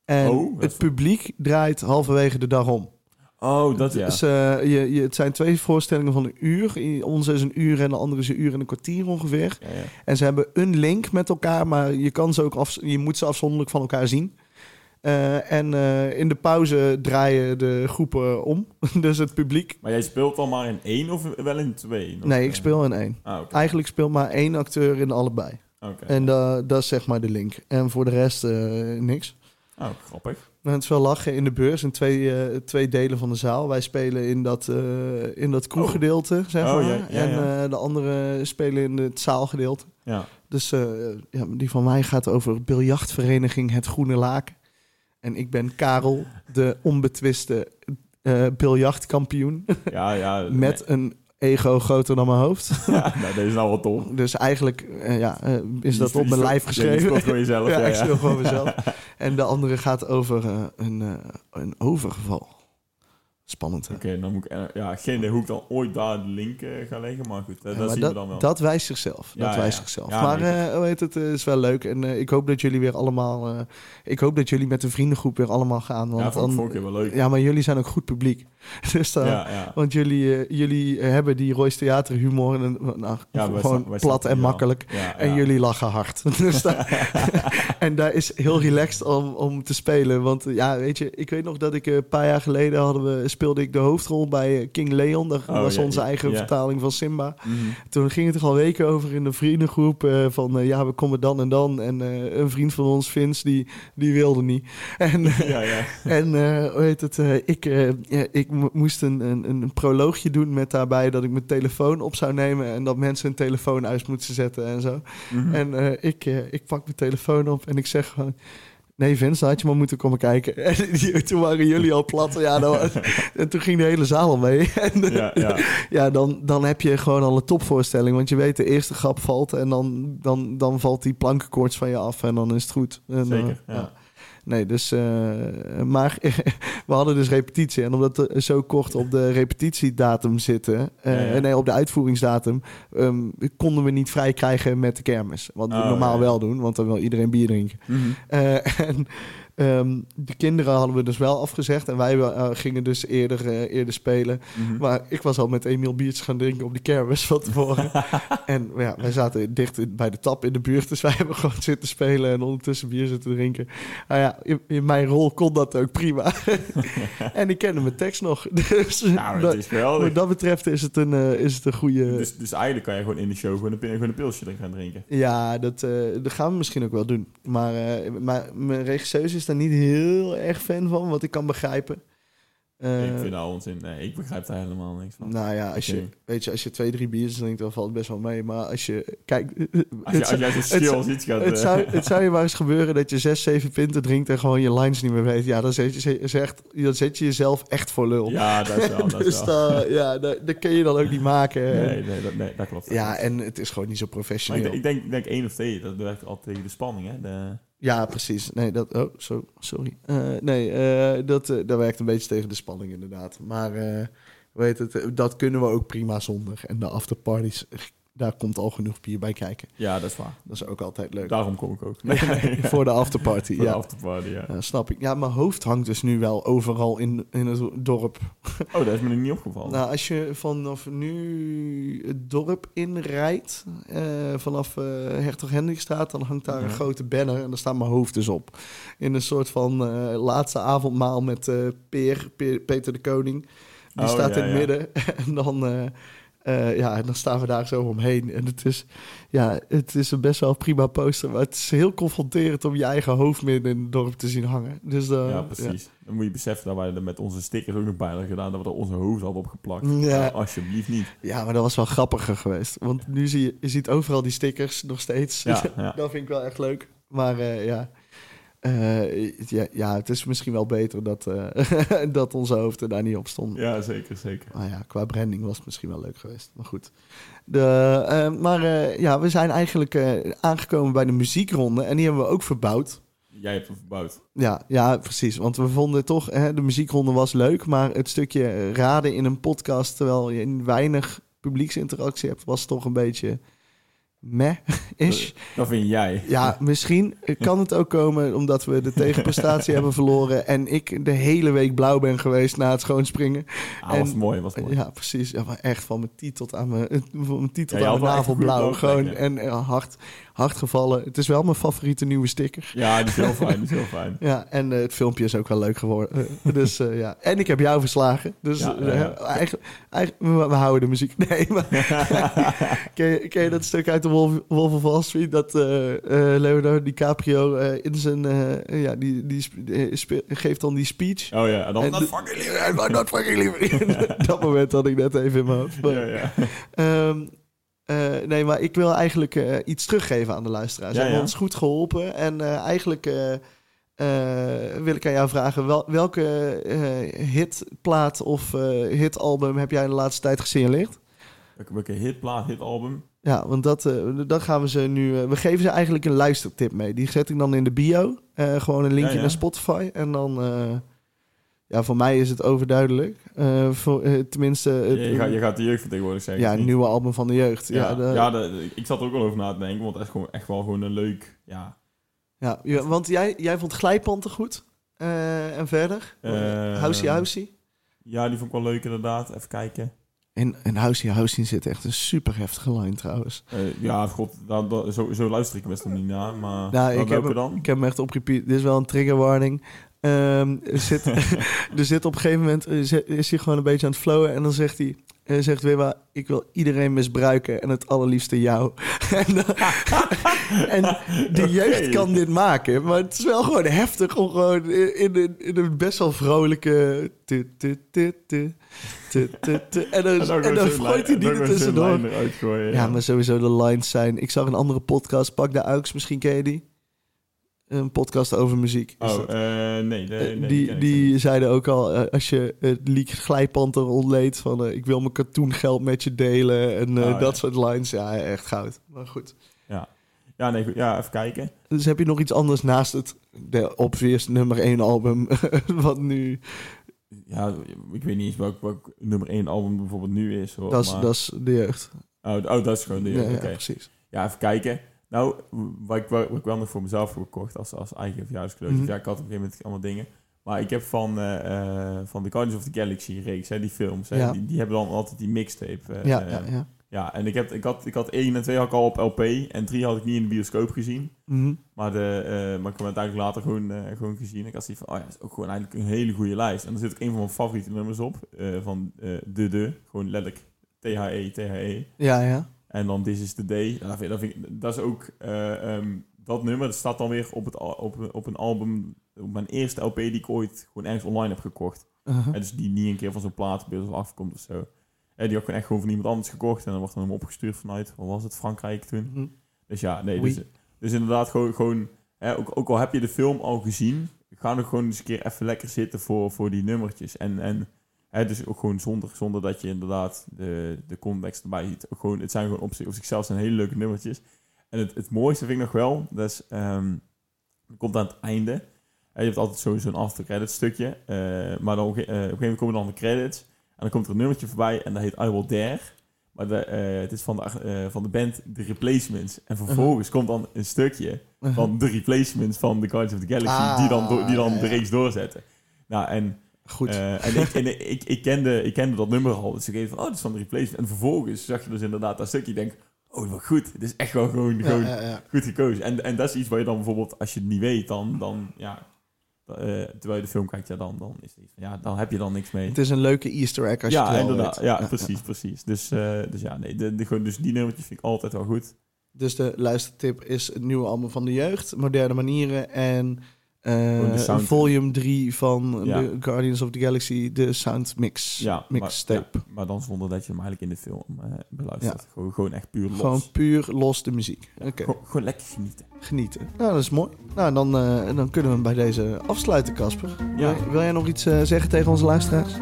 A: En
B: Oh, dat
A: het
B: is-
A: publiek draait halverwege de dag om.
B: Oh, dat ja.
A: Dus eh, je, je, het zijn twee voorstellingen van een uur. I- Onze is een uur en de andere is een uur en een kwartier ongeveer.
B: Ja, ja.
A: En ze hebben een link met elkaar, maar je, kan ze ook af, je moet ze afzonderlijk van elkaar zien. Eh, en eh, in de pauze draaien de groepen om. [LAUGHS] dus het publiek.
B: Maar jij speelt dan maar in één of wel in twee? Nog?
A: Nee, ik speel in één.
B: Ah, oké.
A: Eigenlijk speelt maar één acteur in allebei.
B: Oké.
A: En da- dat is zeg maar de link. En voor de rest eh, niks.
B: Oh, grappig.
A: Nou, het is wel lachen in de beurs in twee, eh, twee delen van de zaal. Wij spelen in dat, eh in dat kroeggedeelte, zeg
B: Oh,
A: maar.
B: ja, ja,
A: en
B: ja.
A: eh, de andere spelen in het zaalgedeelte.
B: Ja.
A: Dus eh, ja, die van mij gaat over biljartvereniging Het Groene Laken. En ik ben Karel, de onbetwiste eh biljartkampioen.
B: Ja, ja.
A: Met een ego groter dan mijn hoofd.
B: [LAUGHS] Ja, nou, deze is nou wel top.
A: Dus eigenlijk eh, ja, eh, is
B: Die
A: dat
B: spe-
A: op mijn
B: die
A: lijf
B: spe- Ja, die
A: geschreven.
B: speelt gewoon
A: [LAUGHS]
B: jezelf.
A: Ja,
B: Ja,
A: ik
B: ja.
A: speel gewoon
B: [LAUGHS]
A: mezelf. En de andere gaat over eh, een, eh, een overgeval. Spannend, hè?
B: Oké, dan moet ik... eh, Ja, geen idee hoe ik dan ooit daar de link eh, ga leggen, maar goed, eh,
A: Ja,
B: dat
A: maar
B: zien we dan wel.
A: dat, dat wijst zichzelf.
B: Ja,
A: dat
B: ja,
A: wijst
B: ja.
A: zichzelf.
B: Ja,
A: maar
B: nee,
A: eh, hoe heet het, eh, is wel leuk. En eh, ik hoop dat jullie weer allemaal... eh, ik hoop dat jullie met een vriendengroep weer allemaal gaan. Want
B: ja, vond ik
A: dan-
B: vorige keer wel leuk.
A: ja, maar jullie zijn ook goed publiek. [LAUGHS] Dus dan,
B: ja, ja.
A: Want jullie, eh, jullie hebben die Royce Theater humor. En, een- nou,
B: Ja, wij
A: gewoon
B: sna- wij
A: plat
B: snappen
A: en
B: die wel.
A: makkelijk.
B: Ja,
A: En
B: ja.
A: jullie lachen hard. [LAUGHS] Dus
B: [LAUGHS]
A: daar- en daar is heel relaxed om, om te spelen. Want eh, ja, weet je, ik weet nog dat ik eh, een paar jaar geleden hadden we, speelde ik de hoofdrol bij eh, King Leon. Dat
B: Oh,
A: was
B: ja,
A: onze
B: ja,
A: eigen
B: ja.
A: vertaling van Simba.
B: Mhm.
A: Toen ging het er al weken over in de vriendengroep. eh, van eh, ja, we komen dan en dan. En eh, een vriend van ons, Vince, die, die wilde niet.
B: [LAUGHS]
A: En,
B: Ja, ja.
A: en eh, hoe heet het? eh, ik eh, ja, ik mo- moest een, een, een proloogje doen met daarbij dat ik mijn telefoon op zou nemen. En dat mensen hun telefoon uit moeten zetten en zo. [LAUGHS]
B: Mhm.
A: En eh, ik, eh, ik pak mijn telefoon op en ik zeg gewoon... Nee, Vince, dan had je maar moeten komen kijken. [LAUGHS] En die- toen waren jullie al plat. Ja, dan- en toen ging de hele zaal al mee. [LAUGHS] En, eh,
B: Ja, ja.
A: ja, dan, dan heb je gewoon al een topvoorstelling. Want je weet, de eerste grap valt en dan, dan, dan valt die plankenkoorts van je af en dan is het goed. En,
B: Zeker,
A: eh,
B: ja.
A: Nee, dus... eh, maar [LAUGHS] we hadden dus repetitie. En omdat we zo kort op de repetitiedatum zitten... eh,
B: Ja, ja.
A: Nee, op de uitvoeringsdatum... ehm, konden we niet vrij krijgen met de kermis. Wat we
B: Oh,
A: normaal
B: ja, ja.
A: wel doen, want dan wil iedereen bier drinken.
B: Mhm.
A: Eh, [LAUGHS] en ehm, de kinderen hadden we dus wel afgezegd. En wij eh, gingen dus eerder, eh, eerder spelen.
B: Mhm.
A: Maar ik was al met Emiel biertjes gaan drinken op de kermis van
B: [LAUGHS]
A: tevoren. en ja, wij zaten dicht in- bij de tap in de buurt. Dus wij [LAUGHS] hebben gewoon zitten spelen en ondertussen bier zitten drinken. Nou ja, in, in mijn rol kon dat ook
B: [LAUGHS]
A: prima. en ik kende mijn tekst nog. [LAUGHS] Dus
B: Nou,
A: dat-
B: dat is geweldig.
A: wat dat betreft is het een, eh, is het een goede...
B: Dus, dus eigenlijk kan je gewoon in de show gewoon een, pil- gewoon een pilsje gaan drinken.
A: Ja, dat, eh, dat gaan we misschien ook wel doen. Maar, eh, maar mijn regisseuse is daar niet heel erg fan van, wat ik kan begrijpen. Eh,
B: ik vind dat onzin. Nee, ik begrijp daar helemaal niks van.
A: Nou ja, als je,
B: Oké.
A: weet je, als je twee, drie biertjes drinkt, dan valt het best wel mee. Maar als je... Kijk, [LAUGHS]
B: Als, je, als jij zo'n schil
A: zou-
B: ziet, gaat...
A: het,
B: eh,
A: zou, het zou je maar eens gebeuren dat je zes, zeven pinten drinkt en gewoon je lines niet meer weet. Ja, dan zet je, is echt, dan zet je jezelf echt voor lul. [LAUGHS]
B: [LAUGHS] Ja, dat is wel. Dat is
A: dus
B: wel.
A: dan- ja, dat, dat kun je dan ook niet maken.
B: Nee, nee, dat, nee, dat klopt.
A: Ja, en het is gewoon niet zo
B: Maar ik,
A: professioneel.
B: denk- ik denk, ik denk één of twee, dat werkt altijd tegen de spanning, hè? De,
A: Ja, precies. Nee, dat... Oh, zo, sorry. Eh, nee, eh, dat, eh, dat werkt een beetje tegen de spanning inderdaad. Maar eh, hoe weet het, eh, dat kunnen we ook prima zonder. En de afterparties, eh, daar komt al genoeg bier bij kijken.
B: Ja, dat is waar.
A: Dat is ook altijd leuk.
B: Daarom kom ik ook. Nee, nee,
A: [LAUGHS]
B: ja.
A: Voor de afterparty,
B: [LAUGHS] Voor de
A: ja.
B: afterparty,
A: [LAUGHS]
B: ja.
A: Ja, snap ik. Ja, mijn hoofd hangt dus nu wel overal in, in het dorp.
B: Oh, dat is me nog niet opgevallen.
A: Nou, als je vanaf nu het dorp inrijdt, eh, vanaf eh Hertog Hendrikstraat, dan hangt daar
B: Ja.
A: een grote banner en daar staat mijn hoofd dus op. In een soort van eh, laatste avondmaal met eh, Peer, Peer- Peter de Koning. Die
B: Oh,
A: staat in
B: ja,
A: het
B: ja.
A: midden [LAUGHS] en dan... eh, eh, ja, en dan staan we daar zo omheen. En het is, ja, het is een best wel prima poster. Maar het is heel confronterend om je eigen hoofd midden in het dorp te zien hangen. Dus, eh,
B: ja, precies. Dan moet je beseffen dat wij er met onze stickers ook nog bij hadden gedaan, dat we er onze hoofd hadden opgeplakt.
A: Ja.
B: alsjeblieft niet.
A: Ja, maar dat was wel grappiger geweest. Want nu zie je, je ziet overal die stickers nog steeds. [LAUGHS]
B: Ja, ja.
A: dat vind ik wel echt leuk. Maar eh, ja. Eh, ja, ja, het is misschien wel beter dat, eh, [LAUGHS] dat onze hoofden daar niet op stonden.
B: Ja, zeker, zeker.
A: Maar ja, qua branding was het misschien wel leuk geweest. Maar goed. De, eh, maar eh, ja, we zijn eigenlijk eh, aangekomen bij de muziekronde. En die hebben we ook verbouwd.
B: Jij hebt hem verbouwd.
A: Ja, ja, precies. Want we vonden toch, hè, de muziekronde was leuk, maar het stukje raden in een podcast terwijl je weinig publieksinteractie hebt, was toch een beetje meh-ish.
B: Dat vind jij.
A: Ja, misschien kan het ook komen omdat we de tegenprestatie
B: [LAUGHS]
A: hebben verloren en ik de hele week blauw ben geweest na het schoonspringen.
B: Ah, was
A: en-
B: mooi, was mooi.
A: Ja, precies. Ja, maar echt van mijn tie tot aan mijn, eh, van mijn, tie tot
B: Ja,
A: aan
B: je had
A: mijn navel
B: wel echt een goede
A: blauw.
B: blauwplek,
A: Gewoon
B: ja.
A: en eh, hard, hard gevallen. Het is wel mijn favoriete nieuwe sticker.
B: Ja, die is
A: [LAUGHS]
B: heel fijn, die is heel fijn.
A: Ja, en eh, het filmpje is ook wel leuk geworden. Eh, dus eh, ja. En ik heb jou verslagen. Dus
B: Ja,
A: eh,
B: ja, ja.
A: eigenlijk, eigenlijk- we, we houden de muziek. [LAUGHS] Nee,
B: [LAUGHS]
A: maar ken, je, ken je dat stuk uit de Wolf, Wolf of Wall Street? Dat eh, eh, Leonardo DiCaprio eh, in zijn... eh, ja, die, die sp- eh, spe- geeft dan die speech.
B: Oh ja, en dan...
A: En
B: dat
A: de-
B: fucking leer.
A: I might not fucking leave me. [LAUGHS] dat moment had ik net even in mijn hoofd. Maar,
B: Ja, ja.
A: Ehm, eh, nee, maar ik wil eigenlijk eh, iets teruggeven aan de luisteraars.
B: Ja,
A: Ze hebben
B: ja.
A: ons goed geholpen. En eh, eigenlijk eh, eh, wil ik aan jou vragen... Wel, welke eh, hitplaat of eh, hitalbum heb jij de laatste tijd gesignaleerd?
B: [LAUGHS] Welke- Welke hitplaat, hitalbum?
A: Ja, want dat, eh, dat gaan we ze nu... eh, we geven ze eigenlijk een luistertip mee. Die zet ik dan in de bio. Eh, gewoon een linkje
B: Ja, ja.
A: naar Spotify. En dan... eh, ja, voor mij is het overduidelijk. Eh, voor, eh, tenminste...
B: Je,
A: het-
B: je gaat, je gaat de jeugd tegenwoordig zeggen.
A: ja,
B: of
A: een
B: niet?
A: nieuwe album van de jeugd. Ja,
B: Ja,
A: de-
B: ja de- ik zat er ook wel over na te denken, want het is gewoon echt wel gewoon een leuk... Ja,
A: Ja, ja, want jij, jij vond Glijpanten goed. Eh, en verder?
B: Eh,
A: Housie Housie.
B: ja, die vond ik wel leuk inderdaad. Even kijken.
A: In, in Housie Housie zit echt een super heftige line trouwens.
B: Eh, ja, god, dat, dat- zo, zo luister ik best nog niet naar, maar...
A: Nou, ik
B: welke
A: heb hem-
B: dan?
A: Ik heb hem echt op repeat. Dit is wel een trigger warning. Ehm, er,
B: [LAUGHS]
A: zit, [LAUGHS] er zit op een gegeven moment... eh, zit- is hij gewoon een beetje aan het flowen. En dan zegt hij... eh, zegt Wibba, ik wil iedereen misbruiken en het allerliefste jou. [LAUGHS] en, dan- en de
B: Oké.
A: jeugd kan dit maken. Maar het is wel gewoon heftig om gewoon in, in, in, een best wel vrolijke... tu, tu, tu, tu, tu, tu, tu. En dan,
B: ook
A: en
B: weer
A: dan
B: zo'n
A: gooit hij
B: lijn-
A: die
B: en ook
A: er
B: weer zo'n
A: tussendoor.
B: lijn eruit gooien,
A: Ja, maar sowieso de lines zijn. Ik zag een andere podcast, Pak de Aux, misschien ken je die. Een podcast over muziek. is
B: Oh,
A: dat.
B: eh, nee, nee,
A: Eh,
B: nee, ken
A: die
B: ik
A: die
B: niet.
A: zeiden ook al, eh, als je het lied Glijpanter ontleedt van eh, ik wil mijn katoengeld met je delen en eh,
B: Oh, ja.
A: dat soort lines. Ja, echt goud. Maar goed.
B: Ja, nee, goed, ja, even kijken.
A: Dus heb je nog iets anders naast het de obvious nummer 1 album [LAUGHS] wat nu...
B: Ja, ik weet niet eens welk, welk nummer 1 album bijvoorbeeld nu is. Hoor,
A: Dat is-
B: maar-
A: dat is de jeugd.
B: Oh, d- oh, dat is gewoon de
A: Ja,
B: Oké.
A: ja,
B: Ja,
A: precies.
B: even kijken. Nou, w- wat ik, wel- wat ik wel nog voor mezelf heb gekocht als, als eigen verjaardagscadeau.
A: Mhm.
B: Ja, ik had op een gegeven moment allemaal dingen. Maar ik heb van, eh, eh, van de Guardians of the Galaxy reeks, hè, die films, hè,
A: Ja.
B: die, die hebben dan altijd die mixtape. eh,
A: ja,
B: eh,
A: ja, ja.
B: ja, en ik, heb, ik, had, ik had 1 en 2 had ik al op LP en 3 had ik niet in de bioscoop gezien.
A: Mhm.
B: Maar, de, eh, maar ik heb hem uiteindelijk later gewoon, eh, gewoon gezien. Ik had zoiets van, oh ja, dat is ook gewoon eigenlijk een hele goede lijst. En er zit ook een van mijn favoriete nummers op. eh, van eh, De De. Gewoon letterlijk E T-H-E, T-H-E.
A: Ja, ja.
B: En dan This is the Day. Ja, Dat, vind, dat, vind ik- dat is ook... eh, ehm, dat nummer dat staat dan weer op, het, al- op, een- op een album... Op mijn eerste LP die ik ooit gewoon ergens online heb gekocht.
A: Uh-huh.
B: En dus die niet een keer van zo'n platenbeeld of afkomt of zo. En die had ik gewoon echt gewoon van iemand anders gekocht. En dan wordt dan hem opgestuurd vanuit... Wat was het? Frankrijk toen.
A: Mhm.
B: Dus ja, nee,
A: Oei.
B: dus, dus inderdaad gewoon... gewoon hè, ook, ook al heb je de film al gezien... Ga nog gewoon eens een keer even lekker zitten voor, voor die nummertjes. En, en hè, dus ook gewoon zonder, zonder dat je inderdaad de, de context erbij ziet. Ook gewoon, het zijn gewoon op, zich- op zichzelf zijn hele leuke nummertjes. En het, het mooiste vind ik nog wel... Dat is, ehm, dat komt aan het einde... hè, Je hebt altijd sowieso een after credits stukje. eh, maar dan, op een ge- eh, op een gegeven moment komen dan de credits. En dan komt er een nummertje voorbij en dat heet I Will Dare. Maar de, eh, het is van de, eh, van de band The Replacements. En vervolgens
A: Uh-huh.
B: komt dan een stukje van The Replacements van The Guardians of the Galaxy...
A: Ah,
B: die dan, door- die dan de
A: ja.
B: reeks doorzetten. Nou, en
A: Goed.
B: eh, en ik, en ik, ik, kende, ik kende dat nummer al. Dus ik dacht van, oh, dat is van de replacement. En vervolgens zag je dus inderdaad dat stukje. Je denkt, oh, dat was goed. Het is echt wel gewoon,
A: Ja,
B: gewoon
A: ja, ja.
B: goed gekozen. En, en dat is iets waar je dan bijvoorbeeld, als je het niet weet, dan, dan ja. eh, terwijl je de film kijkt, ja, dan, dan is het iets van, ja, dan heb je dan niks mee.
A: Het is een leuke easter egg als je
B: ja,
A: het wel
B: inderdaad.
A: weet.
B: Ja, precies, precies. Dus, eh, dus ja, nee, de, de, gewoon, dus die nummertjes vind ik altijd wel goed.
A: Dus de luistertip is het nieuwe album van de jeugd, Moderne Manieren en eh,
B: Gewoon de sound-
A: volume 3 van
B: Ja.
A: de Guardians of the Galaxy, de sound mix.
B: Ja,
A: Mixtape.
B: Maar, ja, maar dan zonder dat je hem eigenlijk in de film eh, beluistert. Gewoon, gewoon echt puur los.
A: Gewoon puur los de muziek. Oké,
B: Gewoon- gewoon lekker genieten.
A: genieten. Nou, dat is mooi. Nou, dan, eh, dan kunnen we hem bij deze afsluiten, Casper.
B: Ja.
A: Wil, wil jij nog iets eh, zeggen tegen onze luisteraars?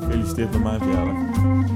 B: Gefeliciteerd met mijn verjaardag.